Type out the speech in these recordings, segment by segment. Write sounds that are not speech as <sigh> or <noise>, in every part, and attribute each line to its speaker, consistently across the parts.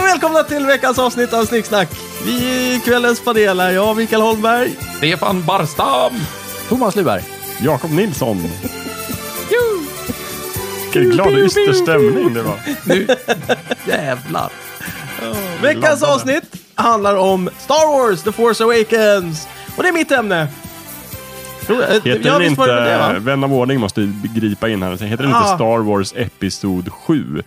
Speaker 1: och välkomna till veckans avsnitt av Snicksnack. Vi i kvällens panel är jag, Mikael Holmberg.
Speaker 2: Stefan Barstam!
Speaker 1: Thomas Lyberg.
Speaker 3: Jakob Nilsson. Vilken glad och yster stämning det var.
Speaker 2: Nu jävlar.
Speaker 1: Oh, Veckans
Speaker 3: laddade.
Speaker 1: avsnitt handlar om Star Wars, The Force Awakens. Och det är mitt ämne. Tror jag.
Speaker 3: Heter
Speaker 1: Ja,
Speaker 3: den
Speaker 1: visst var det det,
Speaker 3: inte, eh,
Speaker 1: va?
Speaker 3: vän av ordning måste ju gripa in här och säga, heter den
Speaker 1: Ah.
Speaker 3: inte Star Wars Episod 7?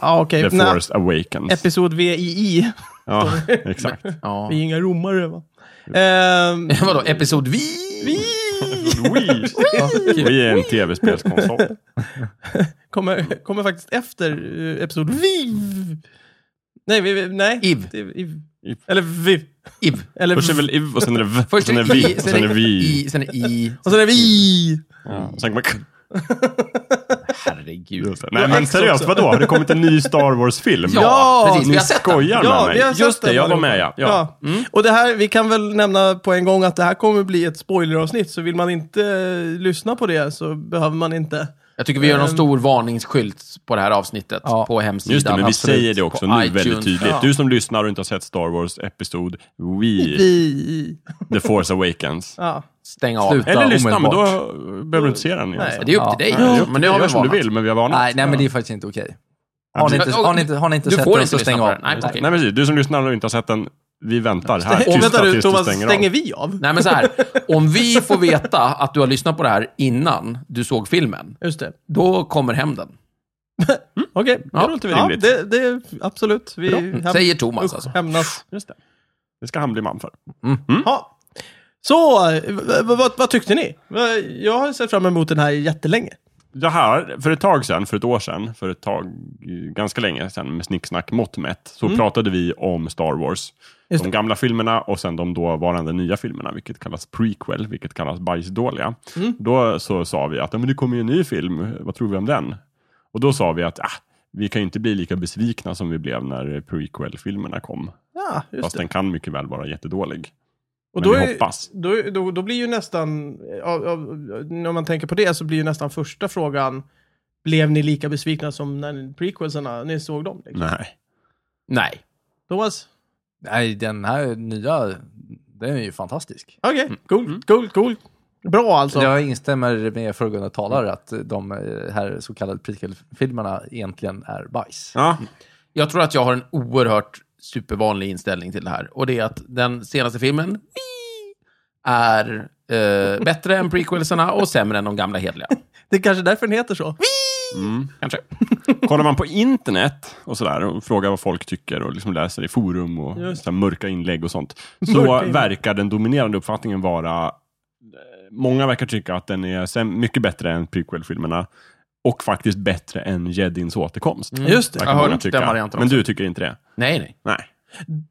Speaker 1: Ja, okej.
Speaker 3: The
Speaker 1: Nej,
Speaker 3: Force Awakens.
Speaker 1: Episod VII.
Speaker 3: ja, <laughs> exakt.
Speaker 2: Ja.
Speaker 1: Vi <laughs> är inga romare, va? Ehm, <laughs>
Speaker 2: Vadå, episod vi?
Speaker 1: vi
Speaker 3: Wii.
Speaker 2: Ja, kul.
Speaker 3: Wii är en tv-spelskonsol.
Speaker 1: kommer, kommer faktiskt efter eh, Episod VIV. Nej, vi, vi- nej.
Speaker 2: Iv.
Speaker 1: Det är
Speaker 3: Iv.
Speaker 1: Eller VIV.
Speaker 2: IV.
Speaker 1: Eller
Speaker 3: Först är väl IV och sen är det V. och
Speaker 2: Först
Speaker 3: Sen är
Speaker 2: är
Speaker 3: det
Speaker 2: I,
Speaker 3: vi. och Sen är det vi.
Speaker 2: I, sen är I.
Speaker 1: Och så är Alltså, det vi.
Speaker 3: Ja, Sen kommer
Speaker 2: Herregud.
Speaker 3: Nej men
Speaker 1: X också.
Speaker 3: seriöst, vadå? Har det kommit en ny Star Wars-film?
Speaker 1: Ja,
Speaker 2: precis.
Speaker 3: Ni
Speaker 2: Vi har sett den.
Speaker 3: skojar med
Speaker 1: vi
Speaker 3: mig.
Speaker 1: har sett
Speaker 3: Just det,
Speaker 1: den
Speaker 3: jag var
Speaker 1: allihopa.
Speaker 3: med ja. ja.
Speaker 1: Och det här, vi kan väl nämna på en gång att det här kommer bli ett spoileravsnitt, så vill man inte eh, lyssna på det så behöver man inte.
Speaker 2: Jag tycker vi gör någon stor varningsskylt på det här avsnittet på hemsidan.
Speaker 3: Just det, men vi
Speaker 2: absolut.
Speaker 3: säger det också
Speaker 2: På
Speaker 3: nu
Speaker 2: iTunes.
Speaker 3: väldigt tydligt. Du som lyssnar och inte har sett Star Wars Episod
Speaker 1: <laughs>
Speaker 3: Wii,
Speaker 1: Vi.
Speaker 3: The Force Awakens.
Speaker 1: Ja.
Speaker 2: Stäng av.
Speaker 4: Sluta
Speaker 3: Eller lyssna, men då
Speaker 4: omedelbart.
Speaker 3: behöver du inte se den.
Speaker 1: Nej.
Speaker 3: Nej.
Speaker 2: Det är upp till dig.
Speaker 4: Ja.
Speaker 3: Ja,
Speaker 2: men nu har
Speaker 3: gör
Speaker 2: vi
Speaker 3: som du
Speaker 2: varnat.
Speaker 3: vill, men vi har varnat.
Speaker 4: Nej, nej, men det är faktiskt inte okej.
Speaker 3: Ja,
Speaker 4: Har ni inte,
Speaker 2: precis.
Speaker 4: har ni inte, har ni inte
Speaker 2: Mm. Du
Speaker 4: sett
Speaker 2: får
Speaker 4: den
Speaker 2: inte
Speaker 4: så
Speaker 2: lyssna
Speaker 4: stäng
Speaker 2: på
Speaker 4: av.
Speaker 2: den. Nej, okej.
Speaker 3: Nej, precis. Du som lyssnar och inte har sett den, vi väntar här.
Speaker 1: Och vänta
Speaker 3: Tysta
Speaker 1: du,
Speaker 3: tills du
Speaker 1: Thomas,
Speaker 3: stänger
Speaker 1: stänger
Speaker 3: av.
Speaker 1: vi av?
Speaker 2: Nej, men så här. Om vi får veta att du har lyssnat på det här innan du såg filmen,
Speaker 1: Just det.
Speaker 2: då kommer hem den.
Speaker 1: Okej.
Speaker 3: Ja, det låter väl
Speaker 1: Ja,
Speaker 3: rimligt.
Speaker 1: det, det, absolut. Vi häm-
Speaker 2: Säger Thomas
Speaker 1: usch,
Speaker 2: alltså.
Speaker 1: hämnas.
Speaker 3: Just det. det ska han bli man för.
Speaker 1: Ja. Så, eh, v- v- vad, vad tyckte ni? Va- Jag har sett fram emot den här jättelänge.
Speaker 3: Det här, för ett tag sedan, för ett år sedan, för ett tag, eh, ganska länge sedan, med snicksnack mått mätt, så pratade vi om Star Wars.
Speaker 1: Mm. Just
Speaker 3: de gamla filmerna och sen de dåvarande nya filmerna, vilket kallas prequel, vilket kallas bajsdåliga.
Speaker 1: Mm.
Speaker 3: Då så sa vi att "Ja, men det kommer ju en ny film, vad tror vi om den? Och då sa vi att ah, vi kan ju inte bli lika besvikna som vi blev när prequel-filmerna kom.
Speaker 1: Ja, just
Speaker 3: Fast
Speaker 1: det.
Speaker 3: den kan mycket väl vara jättedålig.
Speaker 1: Och
Speaker 3: men
Speaker 1: då,
Speaker 3: vi
Speaker 1: är,
Speaker 3: hoppas.
Speaker 1: då, då, då blir ju nästan, av, av, när man tänker på det, så blir ju nästan första frågan, blev ni lika besvikna som när prequelserna, ni såg dem? Liksom?
Speaker 3: Nej.
Speaker 2: Nej.
Speaker 3: Mm.
Speaker 1: Thomas?
Speaker 4: Nej, den här nya, den är ju fantastisk.
Speaker 1: Okej,
Speaker 3: Mm.
Speaker 1: coolt, coolt, coolt. Bra alltså.
Speaker 4: Jag instämmer med föregående talare att de eh, här så kallade prequel-filmerna egentligen är bajs.
Speaker 3: Ja,
Speaker 2: Jag tror att jag har en oerhört supervanlig inställning till det här. Och det är att den senaste filmen wii, är eh, bättre än prequelserna och sämre än de gamla hedliga.
Speaker 1: Det är kanske därför den heter så.
Speaker 3: Mm.
Speaker 2: Kanske.
Speaker 3: Kollar man på internet och sådär och frågar vad folk tycker och liksom läser i forum och
Speaker 1: Just.
Speaker 3: sådär mörka inlägg och sånt.
Speaker 1: Mörka
Speaker 3: Så
Speaker 1: inlägg.
Speaker 3: verkar den dominerande uppfattningen vara, eh, många verkar tycka att den är säm- mycket bättre än prequel-filmerna. Och faktiskt bättre än Jedins återkomst.
Speaker 1: Just det.
Speaker 3: Verkar
Speaker 2: Jag har
Speaker 3: många
Speaker 2: hört den
Speaker 3: tycka.
Speaker 2: varianten
Speaker 3: Men
Speaker 2: också.
Speaker 3: du tycker inte det?
Speaker 2: Nej, nej.
Speaker 3: Nej.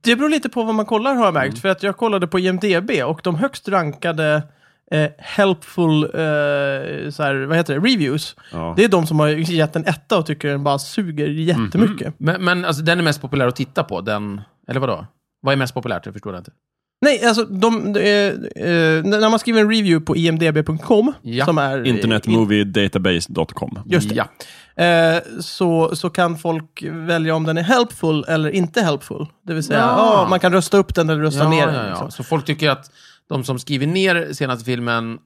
Speaker 1: Det beror lite på vad man kollar har jag märkt.
Speaker 3: Mm.
Speaker 1: För att jag kollade på IMDB och de högst rankade eh, helpful, eh, så här, vad heter det, reviews.
Speaker 3: Ja. Mm.
Speaker 1: Det är de som har gett en etta och tycker den bara suger jättemycket.
Speaker 2: Men, men alltså, den är mest populär att titta på. Den, eller vadå? Vad är mest populärt? Jag förstår det inte.
Speaker 1: Nej, alltså de, eh, eh, när man skriver en review på imdb.com,
Speaker 2: Ja.
Speaker 1: som är... eh,
Speaker 3: Internet
Speaker 1: in-
Speaker 3: Movie Database.com.
Speaker 1: Just det.
Speaker 2: Ja.
Speaker 1: Eh, så, så kan folk välja om den är helpful eller inte helpful. Det vill säga,
Speaker 2: Ja.
Speaker 1: ja. man kan rösta upp den eller rösta
Speaker 2: Ja,
Speaker 1: ner
Speaker 2: ja,
Speaker 1: den.
Speaker 2: ja.
Speaker 1: liksom.
Speaker 2: Så folk tycker att de som skriver ner senaste filmen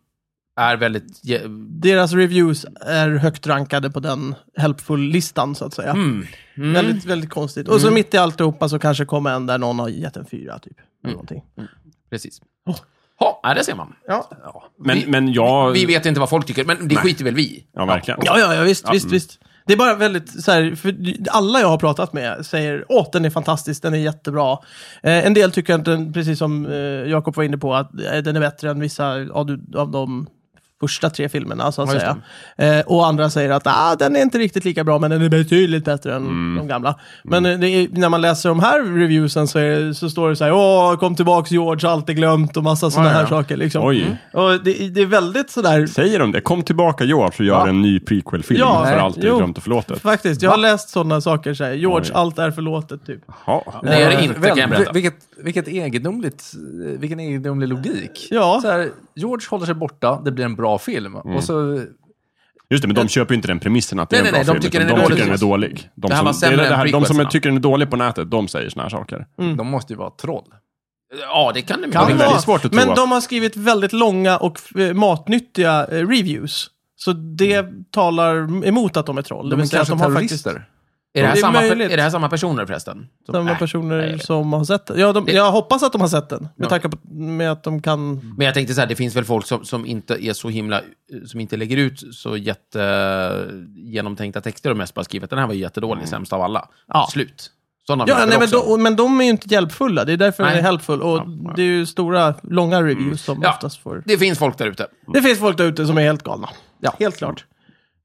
Speaker 2: är väldigt... ge-
Speaker 1: Deras reviews är högt rankade på den helpful-listan, så att säga.
Speaker 2: Mm. Mm.
Speaker 1: Väldigt, väldigt konstigt. Och så mitt i alltihopa så kanske kommer en där någon har gett en fyra, typ.
Speaker 2: Mm.
Speaker 1: Eller någonting.
Speaker 2: Precis. Ja, ja, det ser man.
Speaker 1: Ja.
Speaker 3: Men,
Speaker 2: Vi-
Speaker 3: men jag...
Speaker 2: Vi vet inte vad folk tycker, men det skiter väl vi i.
Speaker 3: ja, verkligen.
Speaker 1: Ja, ja, ja visst, visst,
Speaker 2: Mm.
Speaker 1: visst. Det är bara väldigt så här, för alla jag har pratat med säger åh, den är fantastisk, den är jättebra. Eh, en del tycker att den, precis som eh, Jakob var inne på, att eh, den är bättre än vissa av, du- av de första tre filmerna, så att
Speaker 2: Ja, just
Speaker 1: säga. Eh, och andra säger att ah, den är inte riktigt lika bra, men den är betydligt bättre än
Speaker 2: Mm.
Speaker 1: de gamla. Men eh, det är, när man läser de här reviewsen så, är, det- så står det så här, åh, kom tillbaks George, allt är glömt och massa sådana
Speaker 2: Ja, ja,
Speaker 1: här
Speaker 2: ja.
Speaker 1: saker. Liksom.
Speaker 3: Oj.
Speaker 1: Och det, det är väldigt sådär...
Speaker 3: Säger de det? Kom tillbaka George och gör en ny prequel-film
Speaker 1: Ja,
Speaker 3: för
Speaker 1: nej.
Speaker 3: allt är
Speaker 1: Jo.
Speaker 3: glömt och
Speaker 1: <laughs>
Speaker 3: förlåtet.
Speaker 1: Faktiskt, jag har läst sådana saker såhär, George,
Speaker 3: Oj.
Speaker 1: allt är förlåtet typ.
Speaker 3: Ja.
Speaker 2: Det är det
Speaker 4: Eh,
Speaker 2: inte,
Speaker 4: väl-
Speaker 2: kan jag berätta.
Speaker 4: vilket, vilket egendomligt, eh, vilken egendomlig logik.
Speaker 1: Ja.
Speaker 2: Mm.
Speaker 4: Så här, George håller sig borta, det blir en bra film. Och så
Speaker 3: Just det, men de köper ju inte den premissen att det
Speaker 2: Nej,
Speaker 3: är en
Speaker 2: nej,
Speaker 3: bra
Speaker 2: nej, de
Speaker 3: film.
Speaker 2: tycker
Speaker 3: utan
Speaker 2: den är
Speaker 3: de
Speaker 2: dålig.
Speaker 3: tycker den är dålig. De
Speaker 2: Det här
Speaker 3: som,
Speaker 2: var sämre
Speaker 3: det är det
Speaker 2: än Mm.
Speaker 3: här, de som
Speaker 2: prequelserna.
Speaker 3: tycker den är dålig på nätet, de säger såna här saker.
Speaker 4: De måste ju vara troll.
Speaker 2: Ja, det kan det mycket
Speaker 3: Kan det
Speaker 2: väl.
Speaker 3: vara. väldigt svårt att
Speaker 1: Men
Speaker 3: tro att-
Speaker 1: de har skrivit väldigt långa och eh, matnyttiga eh, reviews. Så det talar emot att de är troll. Det
Speaker 4: De
Speaker 1: vill
Speaker 4: är
Speaker 1: säga att
Speaker 4: kanske
Speaker 1: de har faktiskt
Speaker 4: terrorister.
Speaker 2: Är det, här
Speaker 1: Det är
Speaker 2: samma, per-
Speaker 1: möjligt.
Speaker 2: är det här samma personer förresten? Som-
Speaker 1: samma
Speaker 2: Nej.
Speaker 1: personer
Speaker 2: jag vet.
Speaker 1: som har sett den. Ja, de,
Speaker 2: Det-
Speaker 1: jag hoppas att de har sett den. Med
Speaker 2: Ja.
Speaker 1: tanke på med att de kan...
Speaker 2: Men jag tänkte så här, det finns väl folk som, som inte är så himla, som inte lägger ut så jätte eh, genomtänkta texter och mest bara skriver att den här var ju jättedålig, sämst av alla.
Speaker 1: Mm. Ja.
Speaker 2: Slut. Sådana
Speaker 1: Ja,
Speaker 2: människor
Speaker 1: nej, men,
Speaker 2: också.
Speaker 1: de, men de är ju inte hjälpfulla. Det är därför
Speaker 2: Nej. Mm.
Speaker 1: den är helpful. Och det är ju stora, långa reviews som
Speaker 2: Ja.
Speaker 1: oftast får...
Speaker 2: Det finns folk där ute.
Speaker 1: Det finns folk där ute som är helt galna.
Speaker 4: Ja.
Speaker 1: Helt klart.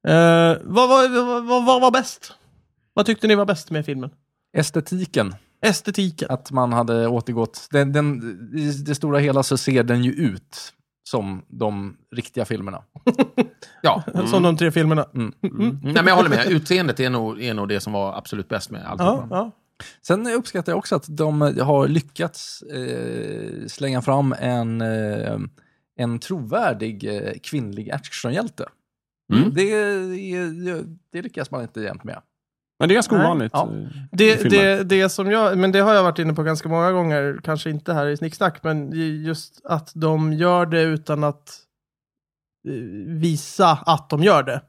Speaker 1: Eh, vad, vad, vad, vad, vad var bäst? Vad tyckte ni var bäst med filmen?
Speaker 4: Estetiken,
Speaker 1: Estetiken.
Speaker 4: att man hade återgått. Den, den, I det stora hela så ser den ju ut som de riktiga filmerna.
Speaker 1: <laughs>
Speaker 2: Ja.
Speaker 1: Som de tre filmerna.
Speaker 2: Nej, men jag håller med. Utseendet är nog, är nog det som var absolut bäst med allt.
Speaker 1: Ja, ja.
Speaker 4: Sen uppskattar jag också att de har lyckats eh, slänga fram en, eh, en trovärdig eh, kvinnlig actionhjälte.
Speaker 3: Mm.
Speaker 4: Det, är- det lyckas man inte jämt med.
Speaker 3: Men det är ganska
Speaker 1: Nej.
Speaker 3: ovanligt.
Speaker 4: Ja.
Speaker 1: Det,
Speaker 3: filmer.
Speaker 1: det, det som jag, men det har jag varit inne på ganska många gånger, kanske inte här i Snicksnack, men ju- just att de gör det utan att eh, visa att de gör det.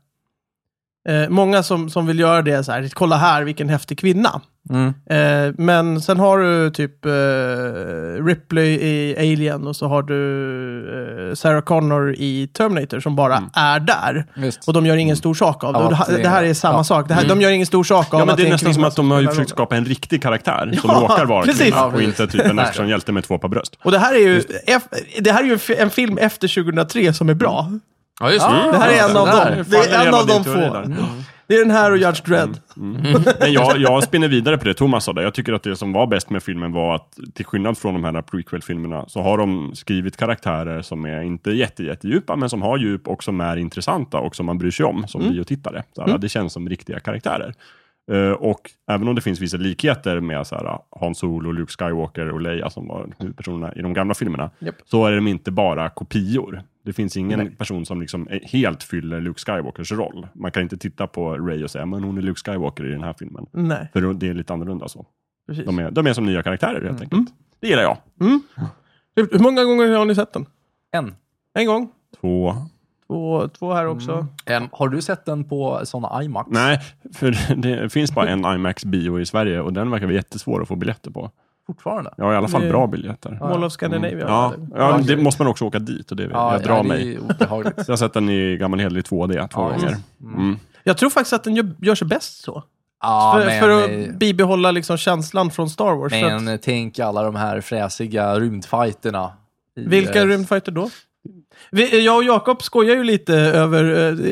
Speaker 1: Eh, många som, som vill göra det är så här, kolla här vilken häftig kvinna.
Speaker 3: Mm.
Speaker 1: Eh, men sen har du typ eh, Ripley i Alien och så har du eh, Sarah Connor i Terminator som bara
Speaker 3: Mm.
Speaker 1: är där.
Speaker 4: Visst.
Speaker 1: Och de gör ingen stor sak av det.
Speaker 4: Ja,
Speaker 1: Och det,
Speaker 4: det
Speaker 1: här-
Speaker 4: är-
Speaker 1: det här är samma
Speaker 4: ja.
Speaker 1: sak. Det här, De gör ingen stor sak av
Speaker 3: Mm. Ja, men
Speaker 1: att
Speaker 3: det är
Speaker 1: en
Speaker 3: nästan
Speaker 1: kvinna
Speaker 3: som att de har
Speaker 1: spelar
Speaker 3: ju
Speaker 1: rollen.
Speaker 3: försökt skapa en riktig karaktär som
Speaker 1: Ja,
Speaker 3: råkar vara
Speaker 1: precis.
Speaker 3: kvinna
Speaker 1: Ja,
Speaker 3: och
Speaker 4: precis.
Speaker 3: inte typ en actionhjälte med två par bröst.
Speaker 1: Och det här är ju, F, det här är ju en, fi- en film efter 2003 som är bra.
Speaker 2: Ja, just det.
Speaker 1: Det här är en av
Speaker 4: där.
Speaker 1: dem. Det är en av de få. Mm. Det är den här och Judge
Speaker 3: Mm.
Speaker 1: Dredd.
Speaker 3: Men jag, jag spinner vidare på det Thomas sa där. Jag tycker att det som var bäst med filmen var att till skillnad från de här prequel-filmerna så har de skrivit karaktärer som är inte jätte, jättedjupa men som har djup och som är intressanta och som man bryr sig om som biotittare. Så här, Det känns som riktiga karaktärer. Eh, och även om det finns vissa likheter med så här, Han Solo, Luke Skywalker och Leia som var huvudpersonerna i de gamla filmerna,
Speaker 1: Japp.
Speaker 3: så är de inte bara kopior. Det finns ingen person som liksom är- helt fyller Luke Skywalkers roll. Man kan inte titta på Ray och säga, men hon är Luke Skywalker i den här filmen.
Speaker 1: Nej,
Speaker 3: För då- det är lite annorlunda så.
Speaker 1: precis.
Speaker 3: De är, de är som nya karaktärer helt enkelt. Det gillar jag.
Speaker 1: Hur många gånger har ni sett den?
Speaker 4: En.
Speaker 1: En gång?
Speaker 3: Två.
Speaker 1: Två, två här också.
Speaker 3: Mm.
Speaker 2: En,
Speaker 4: Har du sett den på sådana IMAX?
Speaker 3: Nej, för <laughs> det finns bara en IMAX-bio i Sverige och den verkar vara jättesvår att få biljetter på.
Speaker 4: Fortfarande?
Speaker 3: Ja, i alla fall
Speaker 1: Det-
Speaker 3: bra biljetter.
Speaker 1: Mall of Scandinavia.
Speaker 3: Ja, ja men det måste man också åka dit och det, jag drar
Speaker 4: nej,
Speaker 3: mig.
Speaker 4: Det är
Speaker 3: <laughs>
Speaker 4: obehagligt.
Speaker 3: Så jag har sett den i gammal hederlig 2D två
Speaker 4: Ja,
Speaker 3: gånger.
Speaker 4: just.
Speaker 3: Mm.
Speaker 1: Jag tror faktiskt att den gör, gör sig bäst så.
Speaker 4: ja,
Speaker 1: för,
Speaker 4: men,
Speaker 1: för
Speaker 4: eh,
Speaker 1: att bibehålla liksom känslan från Star Wars. så att,
Speaker 4: men tänk alla de här fräsiga rymdfighterna. i,
Speaker 1: Vilka
Speaker 4: eh,
Speaker 1: rymdfighter då? Vi, jag och Jakob skojar ju lite över,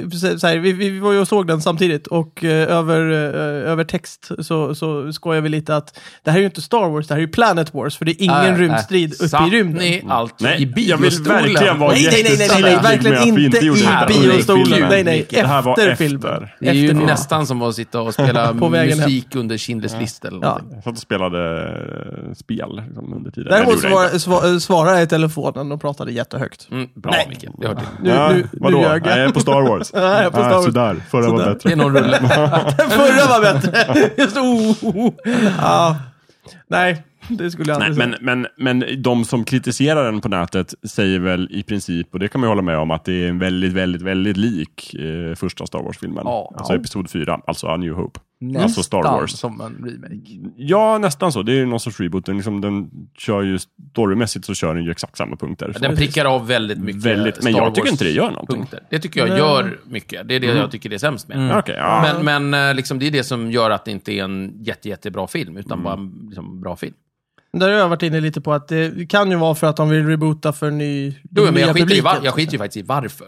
Speaker 1: eh, så- så här, vi, vi var ju och såg den samtidigt och eh, över, eh, över text så, så skojar vi lite att det här är ju inte Star Wars, det här är ju Planet Wars, för det är ingen
Speaker 4: Nej, nej.
Speaker 1: rymdstrid uppe
Speaker 2: Äh, satt
Speaker 1: i rymden. Mm.
Speaker 2: ni allt i
Speaker 3: Nej, jag vill
Speaker 2: biostolen?
Speaker 3: verkligen vara
Speaker 1: Nej, nej, nej, nej, nej,
Speaker 3: jättesäker med
Speaker 1: verkligen
Speaker 3: att vi
Speaker 1: inte
Speaker 3: gjorde
Speaker 1: i
Speaker 3: det här under
Speaker 1: biostolen.
Speaker 3: filmen.
Speaker 1: Nej, nej,
Speaker 3: Det här var
Speaker 1: efter
Speaker 3: efter.
Speaker 1: filmen.
Speaker 2: Det är ju
Speaker 1: Efterfilm.
Speaker 2: nästan som att sitta och spela
Speaker 1: <laughs> På vägen hem.
Speaker 2: musik under Schindler's list eller
Speaker 1: Ja.
Speaker 2: någonting.
Speaker 3: Jag satt och spelade eh, spel liksom, under tiden.
Speaker 1: Däremot
Speaker 3: Nej, det gjorde jag
Speaker 1: svar, svar, svarade jag i telefonen och pratade jättehögt.
Speaker 2: Mm, bra,
Speaker 1: Nej.
Speaker 2: Micke. Jag hörde det.
Speaker 1: Nu,
Speaker 3: Ja,
Speaker 1: nu, nu
Speaker 3: vadå?
Speaker 1: ljög
Speaker 3: Nej, jag
Speaker 1: jag.
Speaker 3: är på Star Wars.
Speaker 1: <laughs> Ja, jag är på Star Wars.
Speaker 3: sådär. Förra var
Speaker 1: Sådär.
Speaker 3: bättre.
Speaker 4: Det är någon rulle.
Speaker 3: <laughs>
Speaker 1: Den förra var bättre. <laughs> Just, oh, oh, oh. Ja. Nej, det skulle jag
Speaker 3: Nej,
Speaker 1: aldrig säga.
Speaker 3: men, men, men de som kritiserar den på nätet säger väl i princip, och det kan man ju hålla med om, att det är en väldigt, väldigt, väldigt lik eh, första Star Wars-filmen.
Speaker 4: Ja.
Speaker 3: Alltså Episod 4, alltså A New Hope.
Speaker 4: Nästan
Speaker 3: Alltså Star Wars.
Speaker 4: som en remake.
Speaker 3: Ja, nästan så. Det är ju någon sorts reboot. Den, liksom, den kör ju, storymässigt så kör den ju exakt samma punkter. Så
Speaker 2: Den prickar av väldigt mycket
Speaker 3: väldigt, men
Speaker 2: Star
Speaker 3: jag tycker
Speaker 2: Wars
Speaker 3: inte Mm. det gör någonting.
Speaker 2: punkter. Det tycker jag gör mycket. Det är det jag tycker det är sämst med.
Speaker 1: Mm.
Speaker 3: Okej, ja.
Speaker 2: Men, men eh, liksom, det är det som gör att det inte är en jätte, jättebra film, utan
Speaker 3: Mm.
Speaker 2: bara en liksom, bra film.
Speaker 1: Där har jag varit inne lite på att det kan ju vara för att de vill reboota för ny,
Speaker 2: Jo, men
Speaker 1: nya
Speaker 2: jag skiter, i,
Speaker 1: publiken.
Speaker 2: var- jag skiter ju faktiskt i varför.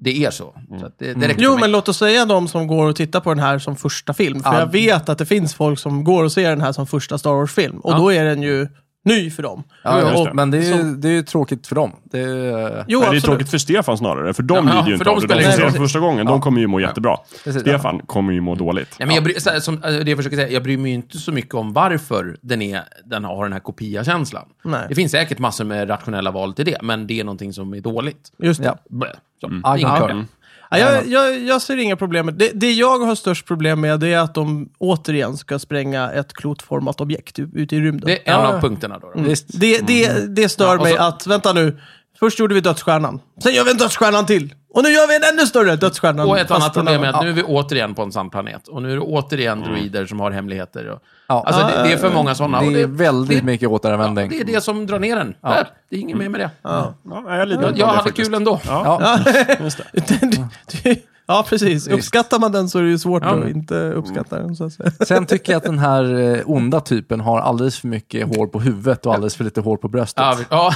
Speaker 2: Det är så.
Speaker 3: Mm.
Speaker 2: så att det, det räcker
Speaker 1: Jo,
Speaker 2: för mig.
Speaker 1: men låt oss säga de som går och tittar på den här som första film. För
Speaker 4: Ja.
Speaker 1: jag vet att det finns folk som går och ser den här som första Star Wars-film. Och
Speaker 2: Ja.
Speaker 1: då är den ju ny för dem.
Speaker 4: Ja,
Speaker 3: just
Speaker 4: och,
Speaker 3: det.
Speaker 4: men det är, ju, det är ju tråkigt för dem. Det är,
Speaker 1: Jo,
Speaker 3: Nej, det är
Speaker 1: absolut.
Speaker 3: tråkigt för Stefan snarare, för de
Speaker 2: Ja,
Speaker 3: lider ju
Speaker 2: för
Speaker 3: inte
Speaker 2: de
Speaker 3: av det.
Speaker 2: spelar
Speaker 3: De som
Speaker 1: ingen
Speaker 3: ser
Speaker 1: roll.
Speaker 3: den första gången, de kommer ju må jättebra.
Speaker 4: Precis, ja.
Speaker 3: Stefan kommer ju må dåligt.
Speaker 2: Nej, men jag, bryr, så här, som, eh, det jag försöker säga, jag bryr mig ju inte så mycket om varför den, är, den har den här kopia-känslan.
Speaker 1: Nej.
Speaker 2: Det finns säkert massor med rationella val till det, men det är någonting som är dåligt.
Speaker 1: Just det.
Speaker 4: ja.
Speaker 3: Mm.
Speaker 2: Blä, så.
Speaker 4: Ja,
Speaker 2: Inga
Speaker 4: ja.
Speaker 2: problem.
Speaker 1: Ja, jag, jag, jag ser inga problem med det. Det jag har störst problem med det är att de återigen ska spränga ett klotformat objekt u- ute i rymden. Det,
Speaker 2: Det är en
Speaker 4: Ja,
Speaker 2: av
Speaker 4: ja.
Speaker 2: punkterna då. då.
Speaker 1: Mm.
Speaker 4: Visst.
Speaker 1: det, det, stör
Speaker 2: Mm. och
Speaker 1: mig
Speaker 2: så-
Speaker 1: att, vänta nu, först gjorde vi dödsstjärnan, sen gör vi en dödsstjärnan till. Och nu gör vi en ännu större dödsstjärna.
Speaker 2: Och ett
Speaker 1: fast
Speaker 2: annat
Speaker 1: en
Speaker 2: problem är
Speaker 1: annan.
Speaker 2: att nu är vi återigen på en sann planet. Och nu är det återigen droider som har hemligheter. Och,
Speaker 4: Mm. Ja.
Speaker 2: Alltså, det, det är för många sådana. och
Speaker 4: Det är
Speaker 2: det,
Speaker 4: väldigt mycket återanvändning.
Speaker 2: det är det som drar ner den. Där, det är inget mer med det.
Speaker 3: Ja, nej, jag lider
Speaker 2: Jag,
Speaker 3: inte
Speaker 2: jag
Speaker 3: av det
Speaker 2: hade
Speaker 3: faktiskt.
Speaker 2: kul ändå.
Speaker 3: Ja.
Speaker 4: Ja.
Speaker 2: <laughs>
Speaker 1: <laughs> Den- du- du- ja, precis. Uppskattar man den så är det ju svårt att inte uppskatta den. Så att säga.
Speaker 4: Sen tycker jag att den här eh, onda typen har alldeles för mycket hår på huvudet och alldeles för lite hår på bröstet.
Speaker 2: Ja, vi-
Speaker 4: <laughs>
Speaker 2: ja.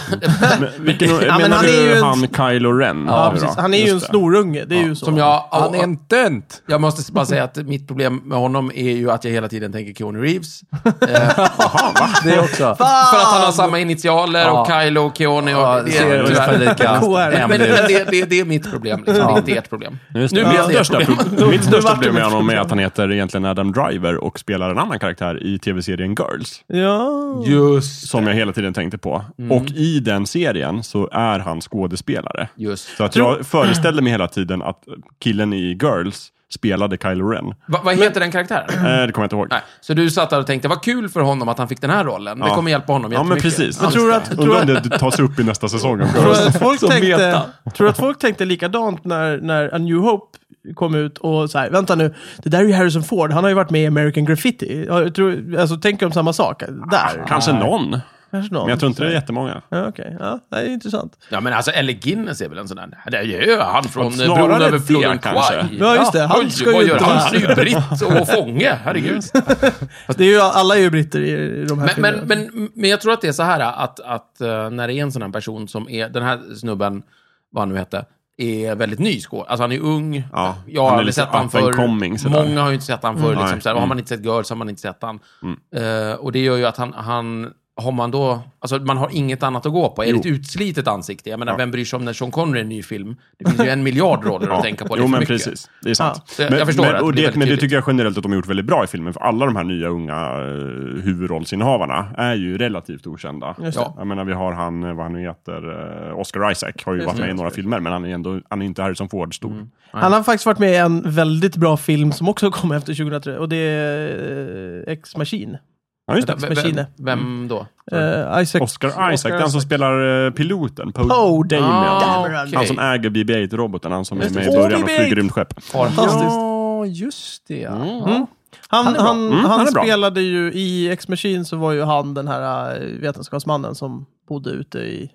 Speaker 3: Men, vilken, menar
Speaker 1: men han
Speaker 3: du
Speaker 1: är ju en-
Speaker 3: han Kylo Ren?
Speaker 1: Ja,
Speaker 3: nu då?
Speaker 1: precis. Han är ju en
Speaker 3: Just det.
Speaker 1: snorunge, det är ju så.
Speaker 2: som jag,
Speaker 4: Han är en
Speaker 2: <laughs>
Speaker 4: tönt!
Speaker 2: jag måste bara säga att mitt problem med honom är ju att jag hela tiden tänker Keanu Reeves. Eh,
Speaker 4: Det också.
Speaker 2: För att han har samma initialer och
Speaker 4: Ah. Ja.
Speaker 2: Kylo och Keone. Och
Speaker 4: Ja,
Speaker 2: det,
Speaker 4: det ser ungefär
Speaker 1: KR.
Speaker 4: lika
Speaker 2: <laughs> men, men
Speaker 4: ämne ut.
Speaker 2: det, det, det är mitt problem, liksom. det är inte ert problem.
Speaker 3: Just
Speaker 2: Nu
Speaker 3: det.
Speaker 2: blir
Speaker 3: Mitt
Speaker 2: det ett
Speaker 3: <laughs> största
Speaker 2: problem.
Speaker 3: pro- Mitt största
Speaker 1: vart det
Speaker 3: problem med
Speaker 1: mitt
Speaker 3: honom är
Speaker 1: problem.
Speaker 3: att han heter egentligen Adam Driver och spelar en annan karaktär i tv-serien Girls.
Speaker 1: Ja.
Speaker 2: Just,
Speaker 3: Som jag hela tiden tänkte på. Och i den serien så är han skådespelare.
Speaker 2: just.
Speaker 3: Så att jag föreställde mig hela tiden att killen i Girls spelade Kylo Ren. Eh,
Speaker 2: Va, vad heter den karaktären?
Speaker 3: det kommer jag inte ihåg.
Speaker 2: Nej. Så du satt där och tänkte, vad kul för honom att han fick den här rollen. Det
Speaker 3: Ja.
Speaker 2: kommer hjälpa honom
Speaker 3: Ja, men
Speaker 2: jättemycket.
Speaker 3: precis.
Speaker 1: Jag tror att, tror
Speaker 3: Undrar om
Speaker 1: att,
Speaker 3: det tas upp i nästa säsong Alltså, av
Speaker 1: tror
Speaker 3: Girls.
Speaker 1: att, folk
Speaker 2: Som
Speaker 1: tänkte,
Speaker 2: meta.
Speaker 1: tror att folk tänkte likadant när, när A New Hope kom ut och så här, vänta nu, det där är ju Harrison Ford, han har ju varit med i American Graffiti. Ja, Jag tror, alltså, tänker de samma sak? Där?
Speaker 3: Kanske någon. Men
Speaker 1: Kanske någon.
Speaker 3: jag tror inte det är jättemånga.
Speaker 1: Ja, okej. Ja, det är intressant.
Speaker 2: Ja, men alltså, Ellie Guinness är väl en sån där... Det är ju han från eh,
Speaker 3: Snarare
Speaker 2: bron över
Speaker 3: det,
Speaker 2: floden
Speaker 3: kanske.
Speaker 2: Kwai.
Speaker 1: Ja, just det. Han
Speaker 2: Oj,
Speaker 1: ska
Speaker 2: vad
Speaker 1: ju
Speaker 2: gör
Speaker 1: inte
Speaker 2: han?
Speaker 1: vara-
Speaker 2: Han är ju britt och fånge, herregud.
Speaker 1: Det är ju, alla är ju britter i de här
Speaker 2: Men, men,
Speaker 1: filmerna.
Speaker 2: men, men jag tror att det är så här att, att eh, när det är en sån här person som är, den här snubben, vad han nu hette, är väldigt ny skådespelare. Alltså han är ung,
Speaker 3: Ja,
Speaker 2: jag
Speaker 3: han
Speaker 2: har
Speaker 3: är
Speaker 2: aldrig
Speaker 3: lite
Speaker 2: sett han
Speaker 3: up and
Speaker 2: förr.
Speaker 3: coming, sådär. Mm.
Speaker 2: Många har ju inte sett han förr. Liksom,
Speaker 3: Nej, Mm.
Speaker 2: så här, Har man inte sett Girls har man inte sett han. Eh, och det gör ju att han, han har man då, alltså man har inget annat att gå på. Är det ett utslitet ansikte? Jag menar, vem bryr sig om när Sean Connery är en ny film? Det finns ju en
Speaker 3: <laughs>
Speaker 2: miljard roller att tänka på. Det är
Speaker 3: Jo,
Speaker 2: för
Speaker 3: men
Speaker 2: mycket.
Speaker 3: precis. Det är sant.
Speaker 2: Ja, jag förstår
Speaker 3: men,
Speaker 2: att det
Speaker 3: och
Speaker 2: blir
Speaker 3: det,
Speaker 2: väldigt
Speaker 3: men det
Speaker 2: tydligt.
Speaker 3: tycker jag generellt att de har gjort väldigt bra i filmen. För alla de här nya unga uh, huvudrollsinnehavarna är ju relativt okända.
Speaker 1: Just
Speaker 2: det.
Speaker 3: Jag menar, vi har han, eh, vad han nu heter, eh, Oscar Isaac. Har ju varit med i några filmer, men han är, ändå, han är inte Harrison Ford stor.
Speaker 2: Mm.
Speaker 1: Han har faktiskt varit med i en väldigt bra film som också <laughs> kom efter 2003 och det är eh, Ex Machine.
Speaker 3: Ja, just det.
Speaker 2: Vem, vem,
Speaker 3: Mm.
Speaker 2: vem då?
Speaker 1: Eh, Isaac Oh,
Speaker 3: Oscar Isaac, den som spelar eh, piloten, Poe
Speaker 1: Poe
Speaker 3: Dameron.
Speaker 2: Ah,
Speaker 1: Dameron.
Speaker 2: okej.
Speaker 3: Han som äger BB-8-roboten, han som är
Speaker 1: Just det.
Speaker 3: med i
Speaker 1: Åh,
Speaker 3: början och
Speaker 1: BB-8!
Speaker 3: flyger rymdskepp.
Speaker 1: Fantastiskt.
Speaker 4: Ja, just det.
Speaker 1: Mm. Han, han,
Speaker 4: är bra.
Speaker 1: han,
Speaker 3: Mm, han är bra.
Speaker 1: spelade ju, i Ex Machine så var ju han den här eh, vetenskapsmannen som bodde ute i...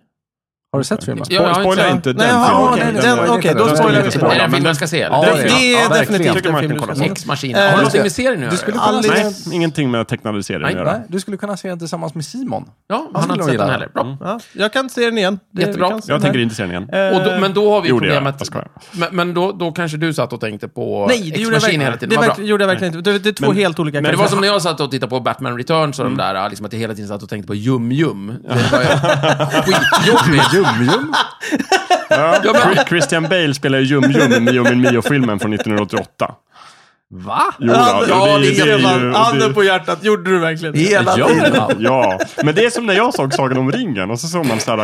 Speaker 4: Har du sett filmen?
Speaker 2: Ja, jag har inte
Speaker 3: Spoila
Speaker 2: sett-
Speaker 3: inte den
Speaker 1: Nej, jaha,
Speaker 3: filmen.
Speaker 1: okej.
Speaker 3: Den-
Speaker 1: Den-
Speaker 3: den-
Speaker 1: okej, då
Speaker 3: den ska
Speaker 1: spoilar vi
Speaker 3: inte
Speaker 1: inte.
Speaker 2: Är det
Speaker 3: spoila,
Speaker 2: en film
Speaker 3: men-
Speaker 2: jag ska se?
Speaker 4: Ja,
Speaker 1: Det,
Speaker 4: det är-
Speaker 1: det är
Speaker 4: ja, verkligen.
Speaker 1: definitivt
Speaker 3: Tycker man
Speaker 1: en
Speaker 3: kan
Speaker 1: film
Speaker 3: kolla
Speaker 1: du ska
Speaker 3: på.
Speaker 1: se.
Speaker 2: X-maskin.
Speaker 1: Eh,
Speaker 2: Har du
Speaker 4: just det.
Speaker 2: TV-serien nu?
Speaker 4: Du skulle
Speaker 2: ja,
Speaker 4: kunna se
Speaker 3: Nej,
Speaker 4: den,
Speaker 3: ingenting med tecknade serier att
Speaker 2: Nej,
Speaker 3: göra.
Speaker 4: nej, du skulle kunna se den tillsammans med Simon.
Speaker 2: ja,
Speaker 4: Han
Speaker 2: han har
Speaker 4: skulle
Speaker 2: inte sett
Speaker 4: gilla
Speaker 2: den
Speaker 4: den.
Speaker 2: heller. Bra.
Speaker 1: Ja, jag kan se den igen. Det,
Speaker 2: Jättebra.
Speaker 1: vi kan se
Speaker 3: Jag
Speaker 1: den
Speaker 3: tänker
Speaker 1: här.
Speaker 3: inte se den igen.
Speaker 2: Och då,
Speaker 1: Eh,
Speaker 2: men då har vi
Speaker 3: Gjorde jag.
Speaker 2: problemet.
Speaker 3: Jag skojar.
Speaker 2: men men då, då kanske du satt och tänkte på
Speaker 1: Nej, det gjorde jag
Speaker 2: X-maskin
Speaker 1: verkligen,
Speaker 2: hela
Speaker 1: inte.
Speaker 2: tiden.
Speaker 1: det
Speaker 2: Vad bra.
Speaker 1: verkligen, gjorde jag verkligen inte. Det, det är två
Speaker 3: Men-
Speaker 1: helt olika
Speaker 2: Men det var
Speaker 1: karaktärer.
Speaker 2: som när jag satt och tittade på Batman Returns och de där, liksom att jag hela tiden satt och tänkte på Jum-Jum. Det var ju skitjobbigt.
Speaker 4: Jum-Jum.
Speaker 3: Ja,
Speaker 2: Ja, men-
Speaker 3: Chris- Christian Bale spelar ju Jum Jum i Mio Min Mio-filmen från 1988.
Speaker 2: Va?
Speaker 3: Jo, då,
Speaker 1: ja,
Speaker 3: det-
Speaker 1: det
Speaker 3: det är
Speaker 1: ser
Speaker 3: ju-
Speaker 1: man.
Speaker 3: och det-
Speaker 1: Handen på hjärtat, gjorde du verkligen det?
Speaker 4: Hela
Speaker 3: Ja,
Speaker 4: tiden.
Speaker 3: ja, men det är som när jag såg Sagan om ringen och så såg man såhär,